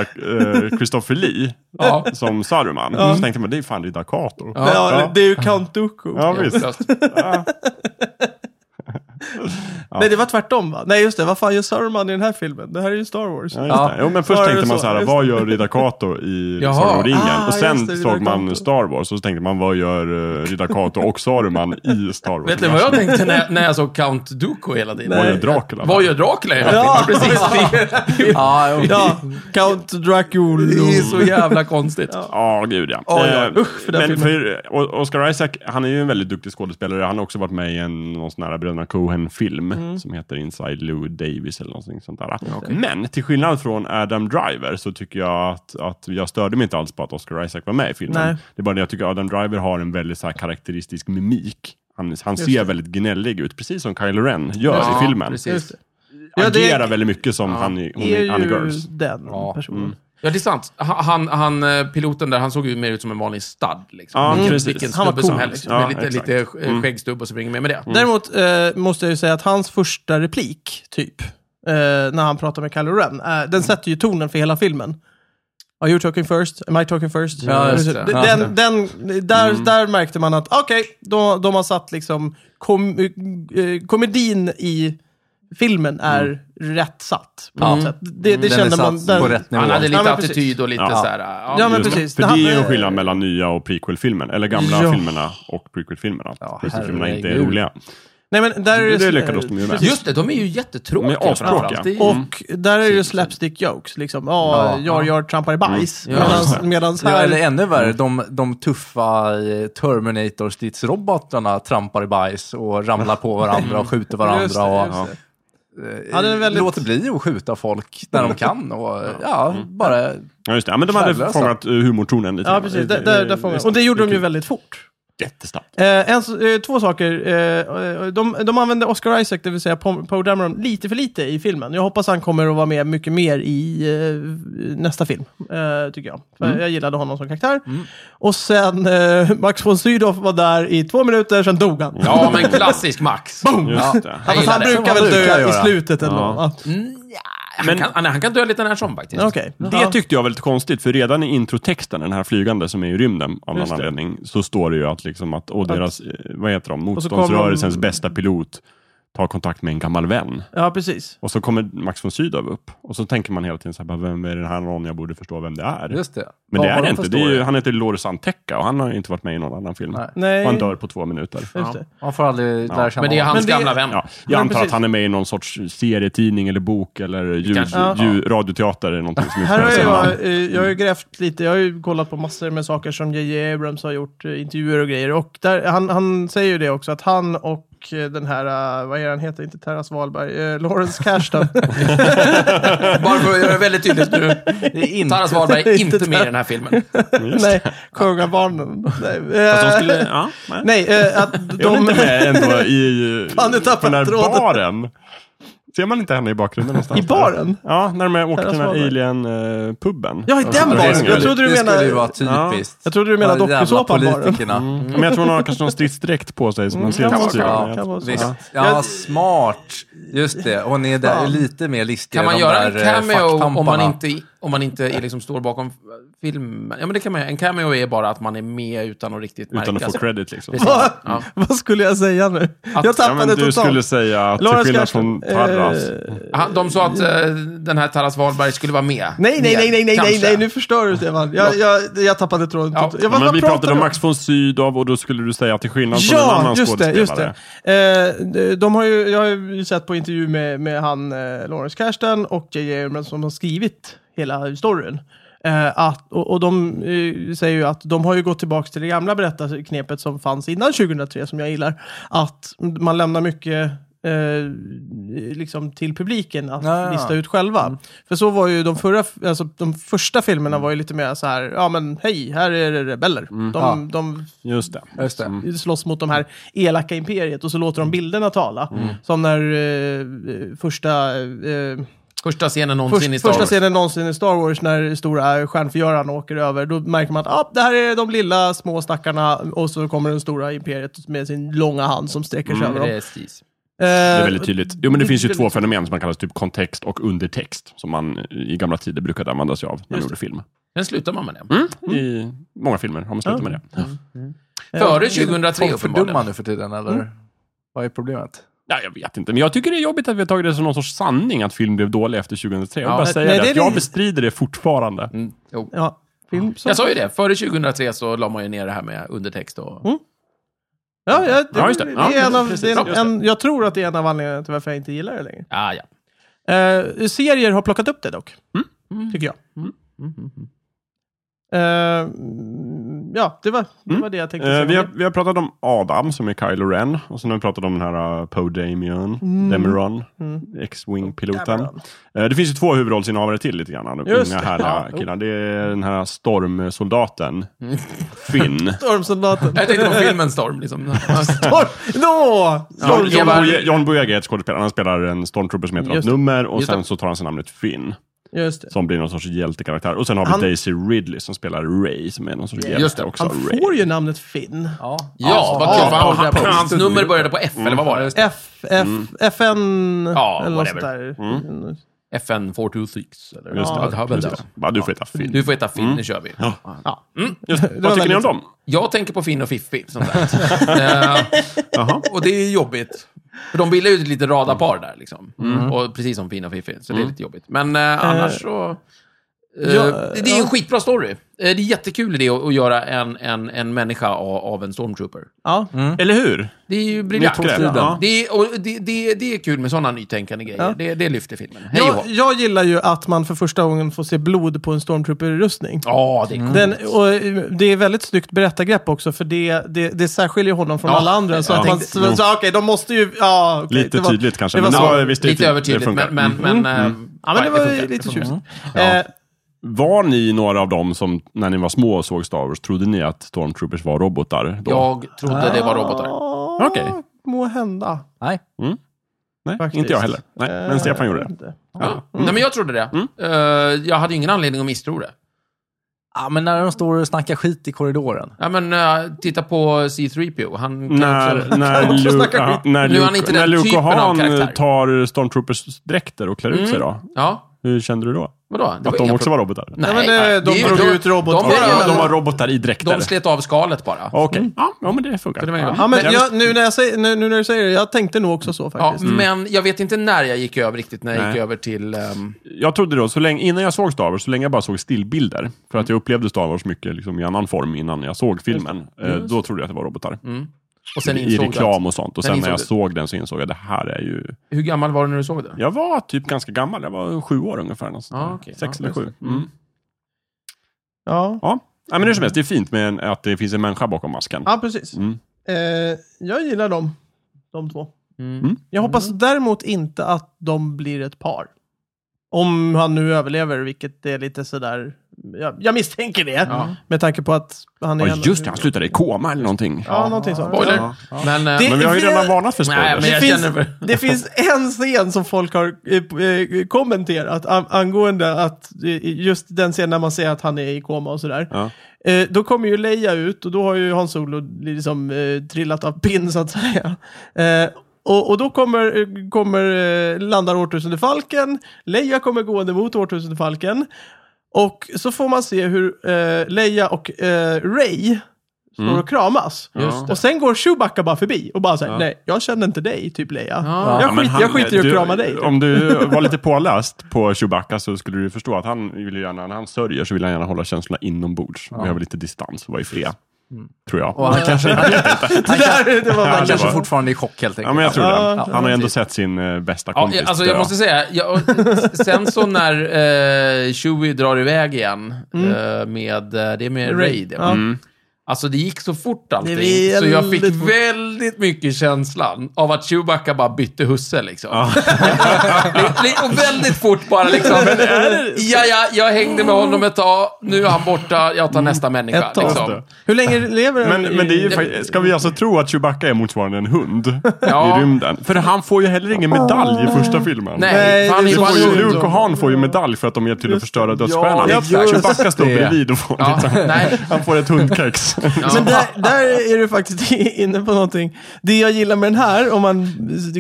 Speaker 3: eh, Christopher Lee
Speaker 2: Ja.
Speaker 3: som Saruman. Så tänkte man, det är fan Riddar Kato. Ja,
Speaker 1: Ja, det är ju Count Dooku.
Speaker 3: visst.
Speaker 2: Hopplöst.
Speaker 1: Nej, det var tvärtom va? Nej, just det. Vad fan gör Saruman i den här filmen? Det här är ju Star Wars.
Speaker 3: Ja,
Speaker 4: Ja.
Speaker 3: just det. Jo, men först
Speaker 1: Ja, det är
Speaker 3: tänkte man
Speaker 1: så.
Speaker 3: så här,
Speaker 1: Just
Speaker 3: vad gör Riddar Kato i
Speaker 2: Jaha.
Speaker 3: Sagan om ringen?
Speaker 1: Ah,
Speaker 3: och sen
Speaker 1: just det,
Speaker 3: såg
Speaker 1: Riddar Kato.
Speaker 3: man Star Wars och så tänkte man, vad gör uh, Riddar Kato och Saruman i Star Wars?
Speaker 2: Vet ni vad jag tänkte när, när jag såg Count Dooku hela tiden?
Speaker 3: Vad gör Dracula?
Speaker 2: Vad gör Dracula?
Speaker 1: Ja,
Speaker 2: Ja, precis.
Speaker 1: <laughs>
Speaker 2: Det,
Speaker 4: Ja, jo.
Speaker 1: Ja, Count Dracula.
Speaker 2: det är så jävla konstigt.
Speaker 3: Ja, gud ja.
Speaker 1: Ja, ja.
Speaker 3: Eh,
Speaker 1: Usch, för den
Speaker 3: men
Speaker 1: filmen.
Speaker 3: för eh, O- Oscar Isaac, han är ju en väldigt duktig skådespelare. Han har också varit med i en någon sån här Bröderna Cohen-film
Speaker 1: Mm.
Speaker 3: som heter Inside Lou Davis eller någonting sånt där. Men till skillnad från Adam Driver så tycker jag att, att jag störde mig inte alls på att Oscar Isaac var med i filmen.
Speaker 1: Nej.
Speaker 3: Det är bara det jag tycker Adam Driver har en väldigt så här karaktäristisk mimik. Han, han ser väldigt gnällig ut, precis som Kylo Ren gör
Speaker 2: Ja,
Speaker 3: i filmen.
Speaker 2: Precis.
Speaker 1: Ja, det-
Speaker 3: Agerar väldigt mycket som han i, hon
Speaker 1: är
Speaker 3: i
Speaker 1: ju
Speaker 3: Annie Girls.
Speaker 1: den personen.
Speaker 2: Ja, det är sant. Ha- Han, han, eh, piloten där, han såg ju mer ut som en vanlig stad. Liksom.
Speaker 3: Ja,
Speaker 2: vilken,
Speaker 3: precis.
Speaker 2: vilken
Speaker 1: Han var
Speaker 2: snubbe som
Speaker 1: cool,
Speaker 2: helst.
Speaker 3: liksom.
Speaker 2: med
Speaker 3: Ja,
Speaker 2: lite, lite
Speaker 3: exakt. Mm.
Speaker 2: eh, skäggstubb och så springer med med det.
Speaker 1: Däremot eh, måste jag ju säga att hans första replik, typ, eh, när han pratar med Kylo Ren, eh, den sätter ju tonen för hela filmen. Are you talking first? Am I talking first?
Speaker 2: Ja, just det.
Speaker 1: Den,
Speaker 2: Ja,
Speaker 1: den, där, där märkte man att, okej, då, de har satt liksom kom, eh, komedin i filmen är rätt satt. På
Speaker 4: Ja.
Speaker 1: något sätt. Det, det
Speaker 4: Den är
Speaker 1: kände man.
Speaker 4: satt på rätt nivå.
Speaker 2: Han hade lite
Speaker 1: Ja, men precis.
Speaker 2: attityd och lite
Speaker 3: Ja.
Speaker 2: så här... ah, Ja,
Speaker 1: Ja, men
Speaker 3: Just det.
Speaker 1: precis.
Speaker 3: För
Speaker 1: Det
Speaker 3: det är ju en
Speaker 1: hade-
Speaker 3: skillnad mellan nya och prequel-filmen. Eller gamla
Speaker 1: Ja.
Speaker 3: filmerna och prequel-filmerna.
Speaker 4: Ja,
Speaker 3: prequel-filmerna är inte
Speaker 4: herregud.
Speaker 3: roliga.
Speaker 1: Nej, men där
Speaker 3: Det-
Speaker 1: är
Speaker 3: det lyckades de ju med.
Speaker 1: precis.
Speaker 2: Just det, de är ju jättetråkiga.
Speaker 3: De är astråkiga.
Speaker 2: framförallt. Det är-
Speaker 1: Och där är det slapstick jokes. Liksom. Ja,
Speaker 4: Ja.
Speaker 1: jag gör trampar i bajs.
Speaker 2: Mm. Ja,
Speaker 1: Medans,
Speaker 3: just det.
Speaker 1: medans
Speaker 4: Ja,
Speaker 1: här...
Speaker 4: eller ännu värre,
Speaker 3: Mm.
Speaker 4: de, de tuffa eh, Terminator-stridsrobotarna trampar i bajs och ramlar på varandra och skjuter varandra.
Speaker 1: Just det,
Speaker 4: och,
Speaker 1: just det.
Speaker 4: eh,
Speaker 1: Ja, det är väldigt-
Speaker 4: Låter bli att skjuta folk när de kan. Och, eh, ja, bara,
Speaker 3: Ja, just det. Ja, men de hade
Speaker 4: Värdelösa.
Speaker 3: fångat eh, humortonen lite.
Speaker 1: Ja,
Speaker 3: grann.
Speaker 1: precis.
Speaker 3: Det-
Speaker 1: Där, där, där får man. Och det gjorde de ju väldigt fort.
Speaker 3: Jättesnabbt.
Speaker 1: Eh, en, s- eh, två saker. Eh, de, de använde Oscar Isaac, det vill säga Poe Poe Dameron, lite för lite i filmen. Jag hoppas han kommer att vara med mycket mer i eh, nästa film, eh, tycker jag. För Jag gillade honom som karaktär. Och sen eh, Max von Sydow var där i två minuter, sen dog han.
Speaker 2: Ja, men klassisk
Speaker 3: <laughs>
Speaker 2: Max.
Speaker 3: Just det.
Speaker 1: Ja, fast han
Speaker 2: Jag gillar
Speaker 1: brukar Mm. väl
Speaker 4: det. Brukar
Speaker 1: dö i
Speaker 4: göra.
Speaker 1: slutet eller något.
Speaker 2: Han, kan, han, han kan dö lite när som faktiskt.
Speaker 1: Okej.
Speaker 3: Det tyckte jag var lite konstigt, för redan i introtexten, den här flygande som är i rymden av någon
Speaker 1: Just det.
Speaker 3: anledning, så står det ju att, liksom att åh, deras, eh, vad heter de,
Speaker 1: så kommer de-
Speaker 3: motståndsrörelsens bästa pilot tar kontakt med en gammal vän.
Speaker 1: Ja, precis.
Speaker 3: Och så kommer Max von Sydow upp. Och så tänker man hela tiden så här, bara, vem är den här någon jag borde förstå vem det är?
Speaker 4: just det.
Speaker 3: Men
Speaker 4: Vad
Speaker 3: det är
Speaker 4: har de
Speaker 3: det
Speaker 4: för
Speaker 3: inte. Det är
Speaker 4: story?
Speaker 3: ju, han heter Loris Antecca och han har ju inte varit med i någon annan film.
Speaker 4: Nej.
Speaker 1: Nej.
Speaker 3: Och han dör på två minuter.
Speaker 1: Just det.
Speaker 4: Man får aldrig lära känna
Speaker 2: Men det är hans
Speaker 1: Men det-
Speaker 2: gamla vän.
Speaker 3: Ja,
Speaker 1: Men
Speaker 3: jag antar
Speaker 1: precis.
Speaker 3: att han är med i någon sorts serietidning eller bok eller ljud,
Speaker 2: Kanske.
Speaker 3: ljud, radioteater eller någonting som
Speaker 1: Här
Speaker 3: utspelar
Speaker 1: har
Speaker 3: sig.
Speaker 1: jag, eh, jag har ju grävt lite, jag har ju kollat på massor med saker som J.J. Abrams har gjort, eh, intervjuer och grejer. Och där, han, han säger ju det också, att han och eh, den här, eh, vad är han heter, inte Terras Wahlberg, eh, Lawrence
Speaker 4: <laughs>
Speaker 1: Kasdan.
Speaker 2: Bara för att göra det väldigt tydligt
Speaker 3: <laughs>
Speaker 2: nu.
Speaker 4: Det är inte...
Speaker 2: Taras Wahlberg är inte
Speaker 1: Inte
Speaker 2: med i den här filmen.
Speaker 1: Nej, kungabarnen. Nej,
Speaker 3: Fast de
Speaker 1: eh,
Speaker 3: skulle, ja, nej.
Speaker 1: Nej, eh,
Speaker 4: <laughs>
Speaker 1: att
Speaker 3: Är hon
Speaker 1: de...
Speaker 3: inte med ändå i,
Speaker 1: Fan, nu tappade
Speaker 3: på den här
Speaker 1: jag tråden.
Speaker 3: baren? Ser man inte henne i bakgrunden någonstans?
Speaker 1: I baren?
Speaker 3: Ja, när de åker till den här eh,
Speaker 1: Terrace
Speaker 3: alien-puben.
Speaker 1: Ja, i den baren.
Speaker 3: skulle-
Speaker 1: Jag trodde du
Speaker 4: det skulle ju
Speaker 1: menade...
Speaker 4: vara typiskt.
Speaker 1: Jag trodde du menade
Speaker 4: Ja, jävla
Speaker 1: dokusåpan-baren.
Speaker 4: politikerna.
Speaker 3: Men jag tror hon har kanske någon stridsdräkt på sig som man ser.
Speaker 1: Mm. kan
Speaker 3: på
Speaker 1: vara så. Ja,
Speaker 3: sidan. Jag-
Speaker 1: kan vara så.
Speaker 4: Visst.
Speaker 1: Ja.
Speaker 4: Ja,
Speaker 1: Jag-
Speaker 4: smart. Just det. Hon är där
Speaker 1: Fan.
Speaker 4: lite mer listig.
Speaker 2: Kan man
Speaker 4: de
Speaker 2: göra
Speaker 4: där,
Speaker 2: en
Speaker 4: eh,
Speaker 2: cameo om man
Speaker 4: fackpamparna.
Speaker 2: inte, om man inte är liksom står bakom filmen? Ja, men det kan man göra. En cameo är bara att man är med utan att riktigt märka
Speaker 3: Utan att få
Speaker 2: sig.
Speaker 3: credit liksom.
Speaker 2: Precis.
Speaker 1: Vad-
Speaker 2: Ja.
Speaker 1: <laughs> Vad skulle jag säga nu? Jag
Speaker 3: Ja,
Speaker 1: tappade
Speaker 3: men du
Speaker 1: totalt.
Speaker 3: skulle säga att till
Speaker 1: Lawrence
Speaker 3: skillnad
Speaker 1: Kasdan,
Speaker 3: från Tarras.
Speaker 1: eh,
Speaker 2: Han, de sa att eh, den här Taras Wahlberg skulle vara med.
Speaker 1: Nej, nej,
Speaker 2: Mer,
Speaker 1: nej, nej, nej, nej,
Speaker 2: kanske.
Speaker 1: nej, nu förstör du Stefan. Jag, jag, jag tappade tråden.
Speaker 2: Ja,
Speaker 1: Ja. Jag,
Speaker 3: Ja, men vi pratade om
Speaker 1: du
Speaker 3: Max von Sydow och då skulle du säga till skillnad från en
Speaker 1: Ja,
Speaker 3: annan
Speaker 1: just det,
Speaker 3: skådespelare.
Speaker 1: just det. Eh, de- de har ju, jag har ju sett på intervju med, med han eh, Lawrence Kasdan och J.J. Abrams som har skrivit hela storyn. Eh, att, och, och de eh, säger ju att de har ju gått tillbaka till det gamla berättarknepet som fanns innan 2003 som jag gillar. Att man lämnar mycket eh, liksom till publiken att
Speaker 4: Ja, Mm. ja, ja.
Speaker 1: lista ut själva. För så var ju de förra, alltså de första filmerna var ju lite mer så här, ja men hej, här är det rebeller. De,
Speaker 4: Mm. Ja.
Speaker 1: de
Speaker 3: Just det.
Speaker 4: Just det.
Speaker 1: Mm. slåss mot de här elaka imperiet och så låter de bilderna tala.
Speaker 3: Mm.
Speaker 1: Som när eh, första, eh,
Speaker 2: Första scenen någonsin i
Speaker 1: först,
Speaker 2: Star
Speaker 1: första
Speaker 2: Wars.
Speaker 1: scenen någonsin i Star Wars när stora stjärnförgöraren åker över. Då märker man att ah, det här är de lilla små stackarna och så kommer den stora imperiet med sin långa hand som sträcker sig över dem.
Speaker 2: Precis.
Speaker 3: Mm. Det är
Speaker 1: Eh,
Speaker 3: väldigt tydligt. Jo, men det
Speaker 1: det-
Speaker 3: finns ju
Speaker 1: det-
Speaker 3: två fenomen som man kallar typ kontext och undertext, som man i gamla tider brukade använda sig av när man gjorde film.
Speaker 2: Sen slutar man med det.
Speaker 1: Mm.
Speaker 3: I många filmer har man slutat med det.
Speaker 2: Före 2003
Speaker 4: Folk fördummar
Speaker 2: uppenbarligen.
Speaker 4: nu för tiden, eller? Vad är problemet?
Speaker 3: Ja, jag vet inte, men jag tycker det är jobbigt att vi har tagit det som någon sorts sanning att film blev dålig efter 2003. Jag vill
Speaker 2: Ja.
Speaker 3: bara säga
Speaker 1: Nej,
Speaker 3: det,
Speaker 1: det
Speaker 3: att
Speaker 1: är det-
Speaker 3: jag bestrider det fortfarande.
Speaker 2: Mm, jo.
Speaker 1: Ja, film som...
Speaker 2: Jag sa ju det, före 2003 så la man ju ner det här med undertext och...
Speaker 1: Ja, ja, det,
Speaker 3: Ja, just det.
Speaker 1: det.
Speaker 3: Ja,
Speaker 1: är en av,
Speaker 3: precis.
Speaker 1: det är
Speaker 3: Just
Speaker 1: en, en, jag tror att det är en av anledningarna till varför jag inte gillar det längre.
Speaker 2: Ah, ja.
Speaker 1: Eh, serier har plockat upp det dock,
Speaker 2: Mm.
Speaker 1: tycker jag.
Speaker 2: Mm, mm, mm.
Speaker 1: Eh, ja, det var det,
Speaker 2: Mm.
Speaker 1: var det jag tänkte säga.
Speaker 3: Eh,
Speaker 1: om
Speaker 3: vi, har,
Speaker 1: det.
Speaker 3: vi har pratat om Adam som är Kylo Ren. Och sen har vi pratat om den här eh, Poe Dameron, Demeron, X-Wing-piloten.
Speaker 1: Mm. Dameron.
Speaker 3: Eh, det finns ju två huvudrollsinnehavare till lite grann. De
Speaker 1: Just
Speaker 3: unga
Speaker 1: det.
Speaker 3: härliga
Speaker 1: Ja. Mm.
Speaker 3: killarna. Det är den här stormsoldaten Finn.
Speaker 2: <laughs>
Speaker 1: Stormsoldaten. <laughs>
Speaker 2: Jag tänkte på filmen Storm, liksom.
Speaker 1: Storm... Nå!
Speaker 3: John, John,
Speaker 2: Eva-
Speaker 3: Boye, John Boyega är ett skådespelare. Han spelar en stormtrooper som heter något
Speaker 1: Just det.
Speaker 3: nummer och
Speaker 2: Just
Speaker 3: sen
Speaker 2: det.
Speaker 3: så tar han sig namnet Finn.
Speaker 1: Just det.
Speaker 3: Som blir någon sorts hjältekaraktär. Och sen har vi
Speaker 1: Han-
Speaker 3: Daisy Ridley som spelar Ray som är någon sorts
Speaker 2: Just det.
Speaker 3: hjälte också.
Speaker 1: Han
Speaker 3: Ray.
Speaker 1: får ju namnet Finn.
Speaker 4: Ja,
Speaker 2: Ja, vad kul.
Speaker 1: ja,
Speaker 2: för han-
Speaker 1: ja,
Speaker 2: han-
Speaker 1: ja.
Speaker 2: Hans nummer började på F, eller vad var det?
Speaker 1: F, F, FN...
Speaker 2: Mm. Ja,
Speaker 1: eller något sånt
Speaker 2: whatever.
Speaker 1: där. Mm.
Speaker 2: FN 426. Eller
Speaker 3: Just
Speaker 2: något.
Speaker 3: det.
Speaker 2: Har väl
Speaker 3: Just
Speaker 2: det.
Speaker 3: det. Bara, du får heta Finn.
Speaker 2: Du får heta Finn, nu kör vi.
Speaker 3: Ja.
Speaker 1: Ja. <laughs>
Speaker 3: Just,
Speaker 1: var
Speaker 3: vad tycker ni om
Speaker 1: väldigt-
Speaker 3: dem?
Speaker 2: Jag tänker på Finn och Fiffi, som sagt. Eh,
Speaker 3: Jaha.
Speaker 2: och det är jobbigt. För de bildar ju ett litet radarpar där, liksom. Och precis som Finn och Fiffi, så det är lite jobbigt. Men eh, annars så... eh,
Speaker 1: ja,
Speaker 2: det det är ju en skitbra story. Eh, det är jättekul det att, att göra en, en, en människa av, av en stormtrooper.
Speaker 1: Ja.
Speaker 2: Mm.
Speaker 3: Eller hur?
Speaker 2: Det är ju briljant.
Speaker 3: Nytt grepp, ja.
Speaker 2: Det, är, och det, det, det är kul med sådana nytänkande grejer.
Speaker 1: Ja.
Speaker 2: Det, det lyfter filmen. Hej och
Speaker 1: Jag,
Speaker 2: hå.
Speaker 1: jag gillar ju att man för första gången får se blod på en stormtrooper-rustning.
Speaker 2: Ja, det är
Speaker 3: Mm.
Speaker 2: coolt.
Speaker 1: Den, och eh, det är väldigt snyggt berättargrepp också, för det, det, det särskiljer honom från
Speaker 2: Ja,
Speaker 1: alla andra. Så
Speaker 2: jag
Speaker 1: att man,
Speaker 2: tänkte-
Speaker 1: så, så, okej, de måste ju... Ja, okej,
Speaker 3: Lite
Speaker 1: det var-
Speaker 3: tydligt kanske.
Speaker 1: det
Speaker 3: men
Speaker 1: var
Speaker 3: det
Speaker 1: så-
Speaker 3: var, visst, det är
Speaker 2: lite
Speaker 3: tydligt.
Speaker 2: övertydligt,
Speaker 3: Det funkar.
Speaker 2: men... men,
Speaker 3: Mm.
Speaker 2: men eh,
Speaker 1: Ja, men det
Speaker 2: fine,
Speaker 1: var
Speaker 2: funkar,
Speaker 1: ju lite
Speaker 2: funkar.
Speaker 1: tjusigt.
Speaker 3: Ja.
Speaker 1: Eh,
Speaker 3: Var ni några av dem som, när ni var små och såg Star Wars, trodde ni att Stormtroopers var robotar? Då?
Speaker 2: Jag trodde det var
Speaker 1: Ah.
Speaker 2: robotar.
Speaker 1: ja,
Speaker 3: Okej.
Speaker 1: Må hända.
Speaker 4: Nej.
Speaker 3: Nej,
Speaker 1: faktiskt.
Speaker 3: inte jag heller. Nej, men
Speaker 1: Eh,
Speaker 3: Stefan gjorde
Speaker 1: jag
Speaker 3: det.
Speaker 1: vet inte.
Speaker 2: Ja.
Speaker 1: Mm.
Speaker 2: Nej, men jag trodde det.
Speaker 3: Mm.
Speaker 2: Eh, jag hade ingen anledning att misstro det.
Speaker 4: Ja, men när de står och snackar skit i korridoren.
Speaker 2: Ja, men, eh, titta på C3PO. Han kan också... <laughs>
Speaker 3: När, när,
Speaker 1: också
Speaker 3: Luke,
Speaker 1: snacka
Speaker 3: ja,
Speaker 1: skit.
Speaker 3: när,
Speaker 2: Nu är han
Speaker 3: Luke,
Speaker 2: inte den
Speaker 3: när Luke och
Speaker 2: typen av
Speaker 3: Han
Speaker 2: karaktär. Mm.
Speaker 3: tar Stormtroopers dräkter och klär ut sig då,
Speaker 2: Ja,
Speaker 3: hur kände du då?
Speaker 2: vadå? Det
Speaker 3: Att de
Speaker 2: inga
Speaker 3: också
Speaker 2: pro-
Speaker 3: var robotar?
Speaker 1: Ja, men, eh, de
Speaker 2: det är ju-
Speaker 1: drog ut robotar.
Speaker 2: De, bara,
Speaker 3: Ja, de var
Speaker 2: de,
Speaker 3: robotar i dräkter.
Speaker 2: de slet av skalet bara.
Speaker 3: Okej, ja, ja, men det funkar.
Speaker 2: Så det var ju bra.
Speaker 1: Ja, men
Speaker 3: jag
Speaker 1: jag, nu, när jag säger, nu, nu när du säger det, jag tänkte nog också så
Speaker 2: Ja,
Speaker 1: faktiskt.
Speaker 2: men jag vet inte när jag gick över riktigt, när jag gick
Speaker 3: Mm. Nej.
Speaker 2: över till... ehm,
Speaker 3: jag trodde då, så länge, innan jag såg Star Wars, så länge jag bara såg stillbilder, för att jag
Speaker 2: Mm.
Speaker 3: upplevde Star Wars mycket liksom, i annan form innan jag såg filmen, eh, då trodde jag att det var robotar.
Speaker 2: och Mm. sen
Speaker 3: I
Speaker 2: insåg du
Speaker 3: reklam
Speaker 2: att,
Speaker 3: och sånt. Och
Speaker 2: sen
Speaker 3: sen när
Speaker 2: insåg
Speaker 3: jag
Speaker 2: du-
Speaker 3: såg den så insåg jag att det här är ju...
Speaker 2: Hur gammal var du när du såg det?
Speaker 3: Jag var typ ganska gammal, jag var sju år ungefär. Något sånt
Speaker 2: Ja,
Speaker 3: där.
Speaker 2: Ah, okej.
Speaker 3: Sex
Speaker 2: Ja,
Speaker 3: eller
Speaker 2: just
Speaker 3: sju. Mm.
Speaker 1: Ja.
Speaker 3: Ja. ja, men hur som helst, det är fint med en, att det finns en människa bakom masken.
Speaker 1: Ja, precis.
Speaker 3: Mm.
Speaker 1: Eh, jag gillar dem, de två.
Speaker 2: Mm.
Speaker 1: Jag hoppas däremot inte att de blir ett par. Om han nu överlever, vilket är lite sådär... Jag, jag misstänker det,
Speaker 2: Ja.
Speaker 1: med tanke på att han är...
Speaker 3: Ja, just det, han slutade i koma eller någonting.
Speaker 1: Ja, någonting sånt.
Speaker 2: Spoiler.
Speaker 1: Ja.
Speaker 2: Men, eh,
Speaker 1: Det-
Speaker 3: Men vi har ju
Speaker 1: vi-
Speaker 3: redan varnat för
Speaker 2: Nej, men
Speaker 3: spoilers.
Speaker 2: jag
Speaker 1: Det
Speaker 2: känner för...
Speaker 1: Det finns en scen som folk har eh, eh, kommenterat an- angående att eh, just den scenen när man ser att han är i koma och sådär.
Speaker 3: Ja.
Speaker 1: Eh, då kommer ju Leia ut och då har ju Han Solo liksom eh, trillat av pinn så att säga. Eh, och, och då kommer, eh, kommer eh, landar årtusendefalken, Leia kommer gående mot årtusendefalken. Och så får man se hur eh, Leia och eh, Ray står
Speaker 3: Mm.
Speaker 1: och kramas.
Speaker 2: Just det.
Speaker 1: Och sen går Chewbacca bara förbi och bara säger nej, jag känner inte dig, typ Leia.
Speaker 2: Ja.
Speaker 1: Jag,
Speaker 3: Ja, men
Speaker 1: skit,
Speaker 3: han-
Speaker 1: jag skiter i att
Speaker 3: du-
Speaker 1: krama dig. typ.
Speaker 3: Om du var lite påläst på Chewbacca så skulle du förstå att han vill ju gärna, när han sörjer så vill han gärna hålla känslorna inombords. Behöver lite distans och vara i fred. Tror jag.
Speaker 4: Och han
Speaker 1: <laughs>
Speaker 4: kanske,
Speaker 1: Det, där, det var
Speaker 4: han
Speaker 1: verkligen
Speaker 4: kanske
Speaker 3: var-
Speaker 4: fortfarande är i chock helt enkelt.
Speaker 3: Ja, men jag tror
Speaker 1: Ja,
Speaker 3: det.
Speaker 1: jag tror
Speaker 3: Han har
Speaker 1: det.
Speaker 3: ändå sett sin eh, bästa
Speaker 2: Ja,
Speaker 3: kompis
Speaker 2: jag- alltså
Speaker 3: dö.
Speaker 2: jag måste säga, jag, sen så när eh, Chewie drar iväg igen eh, med, eh, det är med Ray det.
Speaker 1: Mm. Ja.
Speaker 3: Mm.
Speaker 2: Alltså det gick så fort allting,
Speaker 1: Det är
Speaker 2: så jag fick
Speaker 1: väldigt fort.
Speaker 2: väldigt mycket känslan av att Chewbacca bara bytte husse liksom. <laughs> Li- och väldigt fort bara liksom. Ja, ja, jag hängde med honom ett tag, nu är han borta, jag tar nästa människa.
Speaker 1: Ett tag.
Speaker 2: Liksom.
Speaker 1: Hur länge lever han?
Speaker 3: Men, men det är ju,
Speaker 1: i-
Speaker 3: fakt- ska vi alltså tro att Chewbacca är motsvarande en hund
Speaker 2: Ja.
Speaker 3: i rymden? För han får ju heller ingen medalj i första filmen.
Speaker 2: Nej,
Speaker 1: Nej,
Speaker 2: fan,
Speaker 1: det
Speaker 3: Det
Speaker 2: det
Speaker 1: var
Speaker 3: får ju
Speaker 1: synd
Speaker 3: Luke och
Speaker 1: om-
Speaker 3: Han får ju medalj för att de hjälpt till att förstöra dödsstjärnan.
Speaker 2: Ja, exakt.
Speaker 3: Chewbacca står
Speaker 4: det.
Speaker 3: bredvid och får
Speaker 2: Ja,
Speaker 3: lite,
Speaker 2: nej.
Speaker 3: han får ett hundkex.
Speaker 1: Men där, där är du faktiskt <laughs> inne på någonting. Det jag gillar med den här, om man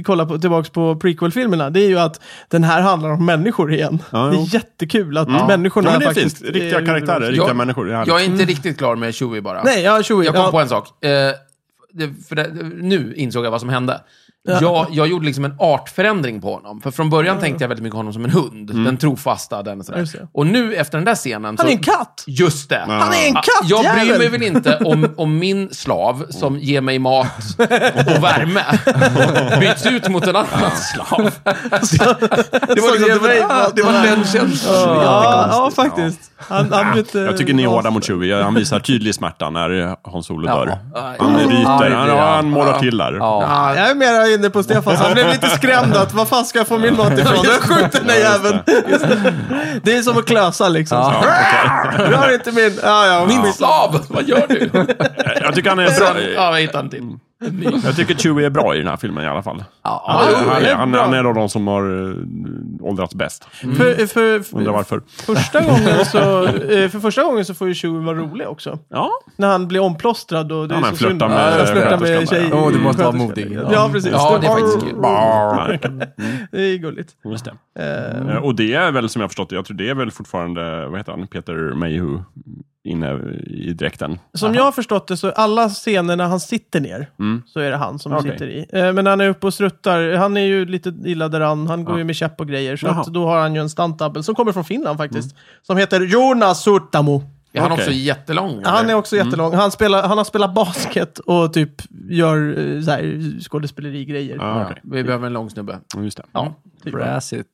Speaker 1: kollar på, tillbaka på prequel-filmerna, det är ju att den här handlar om människor igen.
Speaker 3: Ja,
Speaker 1: det
Speaker 3: jo.
Speaker 1: är jättekul att
Speaker 3: Ja,
Speaker 1: människorna
Speaker 3: men det är
Speaker 1: faktiskt...
Speaker 3: fint. Riktiga
Speaker 1: är-
Speaker 3: karaktärer, riktiga människor. Det är
Speaker 2: Jag
Speaker 3: härligt.
Speaker 2: är inte riktigt klar med Chewie bara.
Speaker 1: Nej, ja, Chewie.
Speaker 2: Jag kom
Speaker 1: ja.
Speaker 2: på en sak. Eh, det, för det, nu insåg jag vad som hände. Jag, jag gjorde liksom en artförändring på honom. För från början tänkte jag väldigt mycket på honom som en hund.
Speaker 3: Mm.
Speaker 2: Den trofasta, den
Speaker 1: Just
Speaker 2: sådär.
Speaker 1: det.
Speaker 2: Och nu efter den där scenen så...
Speaker 1: Han är en katt!
Speaker 2: Just det.
Speaker 1: Han är en
Speaker 2: Ah,
Speaker 1: katt,
Speaker 2: Jag bryr
Speaker 1: jävel.
Speaker 2: mig väl inte om, om min slav som
Speaker 3: Mm.
Speaker 2: ger mig mat
Speaker 3: <laughs>
Speaker 2: och värme byts ut mot en annan slav. Det var, liksom, det var, det var den känslan.
Speaker 1: Ja, ja, faktiskt. Han, han bytte-
Speaker 3: Jag tycker ni är hårda mot Chewie. Han visar tydlig smärta när Han Solo dör.
Speaker 2: Ja.
Speaker 3: Han ryter, han,
Speaker 4: Ja.
Speaker 3: han målar till där.
Speaker 1: Ja, Jag är mer inne på Stefan, så han blev lite skrämd att vad fan ska jag få min mat ifrån? Jag skjuter den där jäveln. Just det. det är som att klösa liksom. Så. Rör inte min... Ja, ja,
Speaker 2: Min
Speaker 1: ja.
Speaker 2: slav, vad gör du?
Speaker 3: Jag tycker han är bra.
Speaker 1: Mm.
Speaker 2: Sen, ja, jag hittade en till.
Speaker 3: Jag tycker Chewie är bra i den här filmen i alla fall.
Speaker 2: Ja,
Speaker 4: Ja,
Speaker 2: jo,
Speaker 3: han,
Speaker 2: det
Speaker 3: är,
Speaker 2: är
Speaker 3: han,
Speaker 2: bra. Mm.
Speaker 3: han är en av de som har eh, åldrats bäst.
Speaker 1: För, för, för,
Speaker 3: Undrar varför.
Speaker 1: första gången
Speaker 3: <laughs>
Speaker 1: så, eh, för första gången så får ju Chewie vara rolig också.
Speaker 3: Ja,
Speaker 1: När han blir omplåstrad och det
Speaker 3: Ja,
Speaker 1: är
Speaker 3: men
Speaker 1: så synd.
Speaker 3: flörtar med
Speaker 1: Ja, flörtar med
Speaker 3: sköterskan där.
Speaker 1: tjej.
Speaker 4: Åh, du måste vara
Speaker 1: sköterskan.
Speaker 4: modig.
Speaker 1: Ja, precis.
Speaker 2: Ja, det är faktiskt kul.
Speaker 3: Ja,
Speaker 1: Det är gulligt.
Speaker 3: just det.
Speaker 1: Eh,
Speaker 3: Eh, Och det är väl som jag förstått det, jag tror det är väl fortfarande, vad heter han, Peter Mayhew inne i dräkten.
Speaker 1: Som jag har förstått det så alla scener när han sitter ner
Speaker 3: Mm.
Speaker 1: så är det han som
Speaker 3: Okej.
Speaker 1: sitter i. Eh, Men när han är uppe och struttar, han är ju lite illa däran, han går ju med käpp och grejer. Så
Speaker 3: Jaha. Mm.
Speaker 1: att då har han ju en stuntdouble som kommer från Finland faktiskt. Som heter Jonas Surtamo.
Speaker 2: Är han
Speaker 3: Okej.
Speaker 2: också jättelång? eller?
Speaker 1: Han är också jättelång. Han, spelar, han har spelat basket och typ gör eh, så här, skådespelerigrejer.
Speaker 3: Ah, okej.
Speaker 2: Vi behöver en lång snubbe. Mm.
Speaker 3: Just det.
Speaker 1: Ja, typ.
Speaker 4: brass it.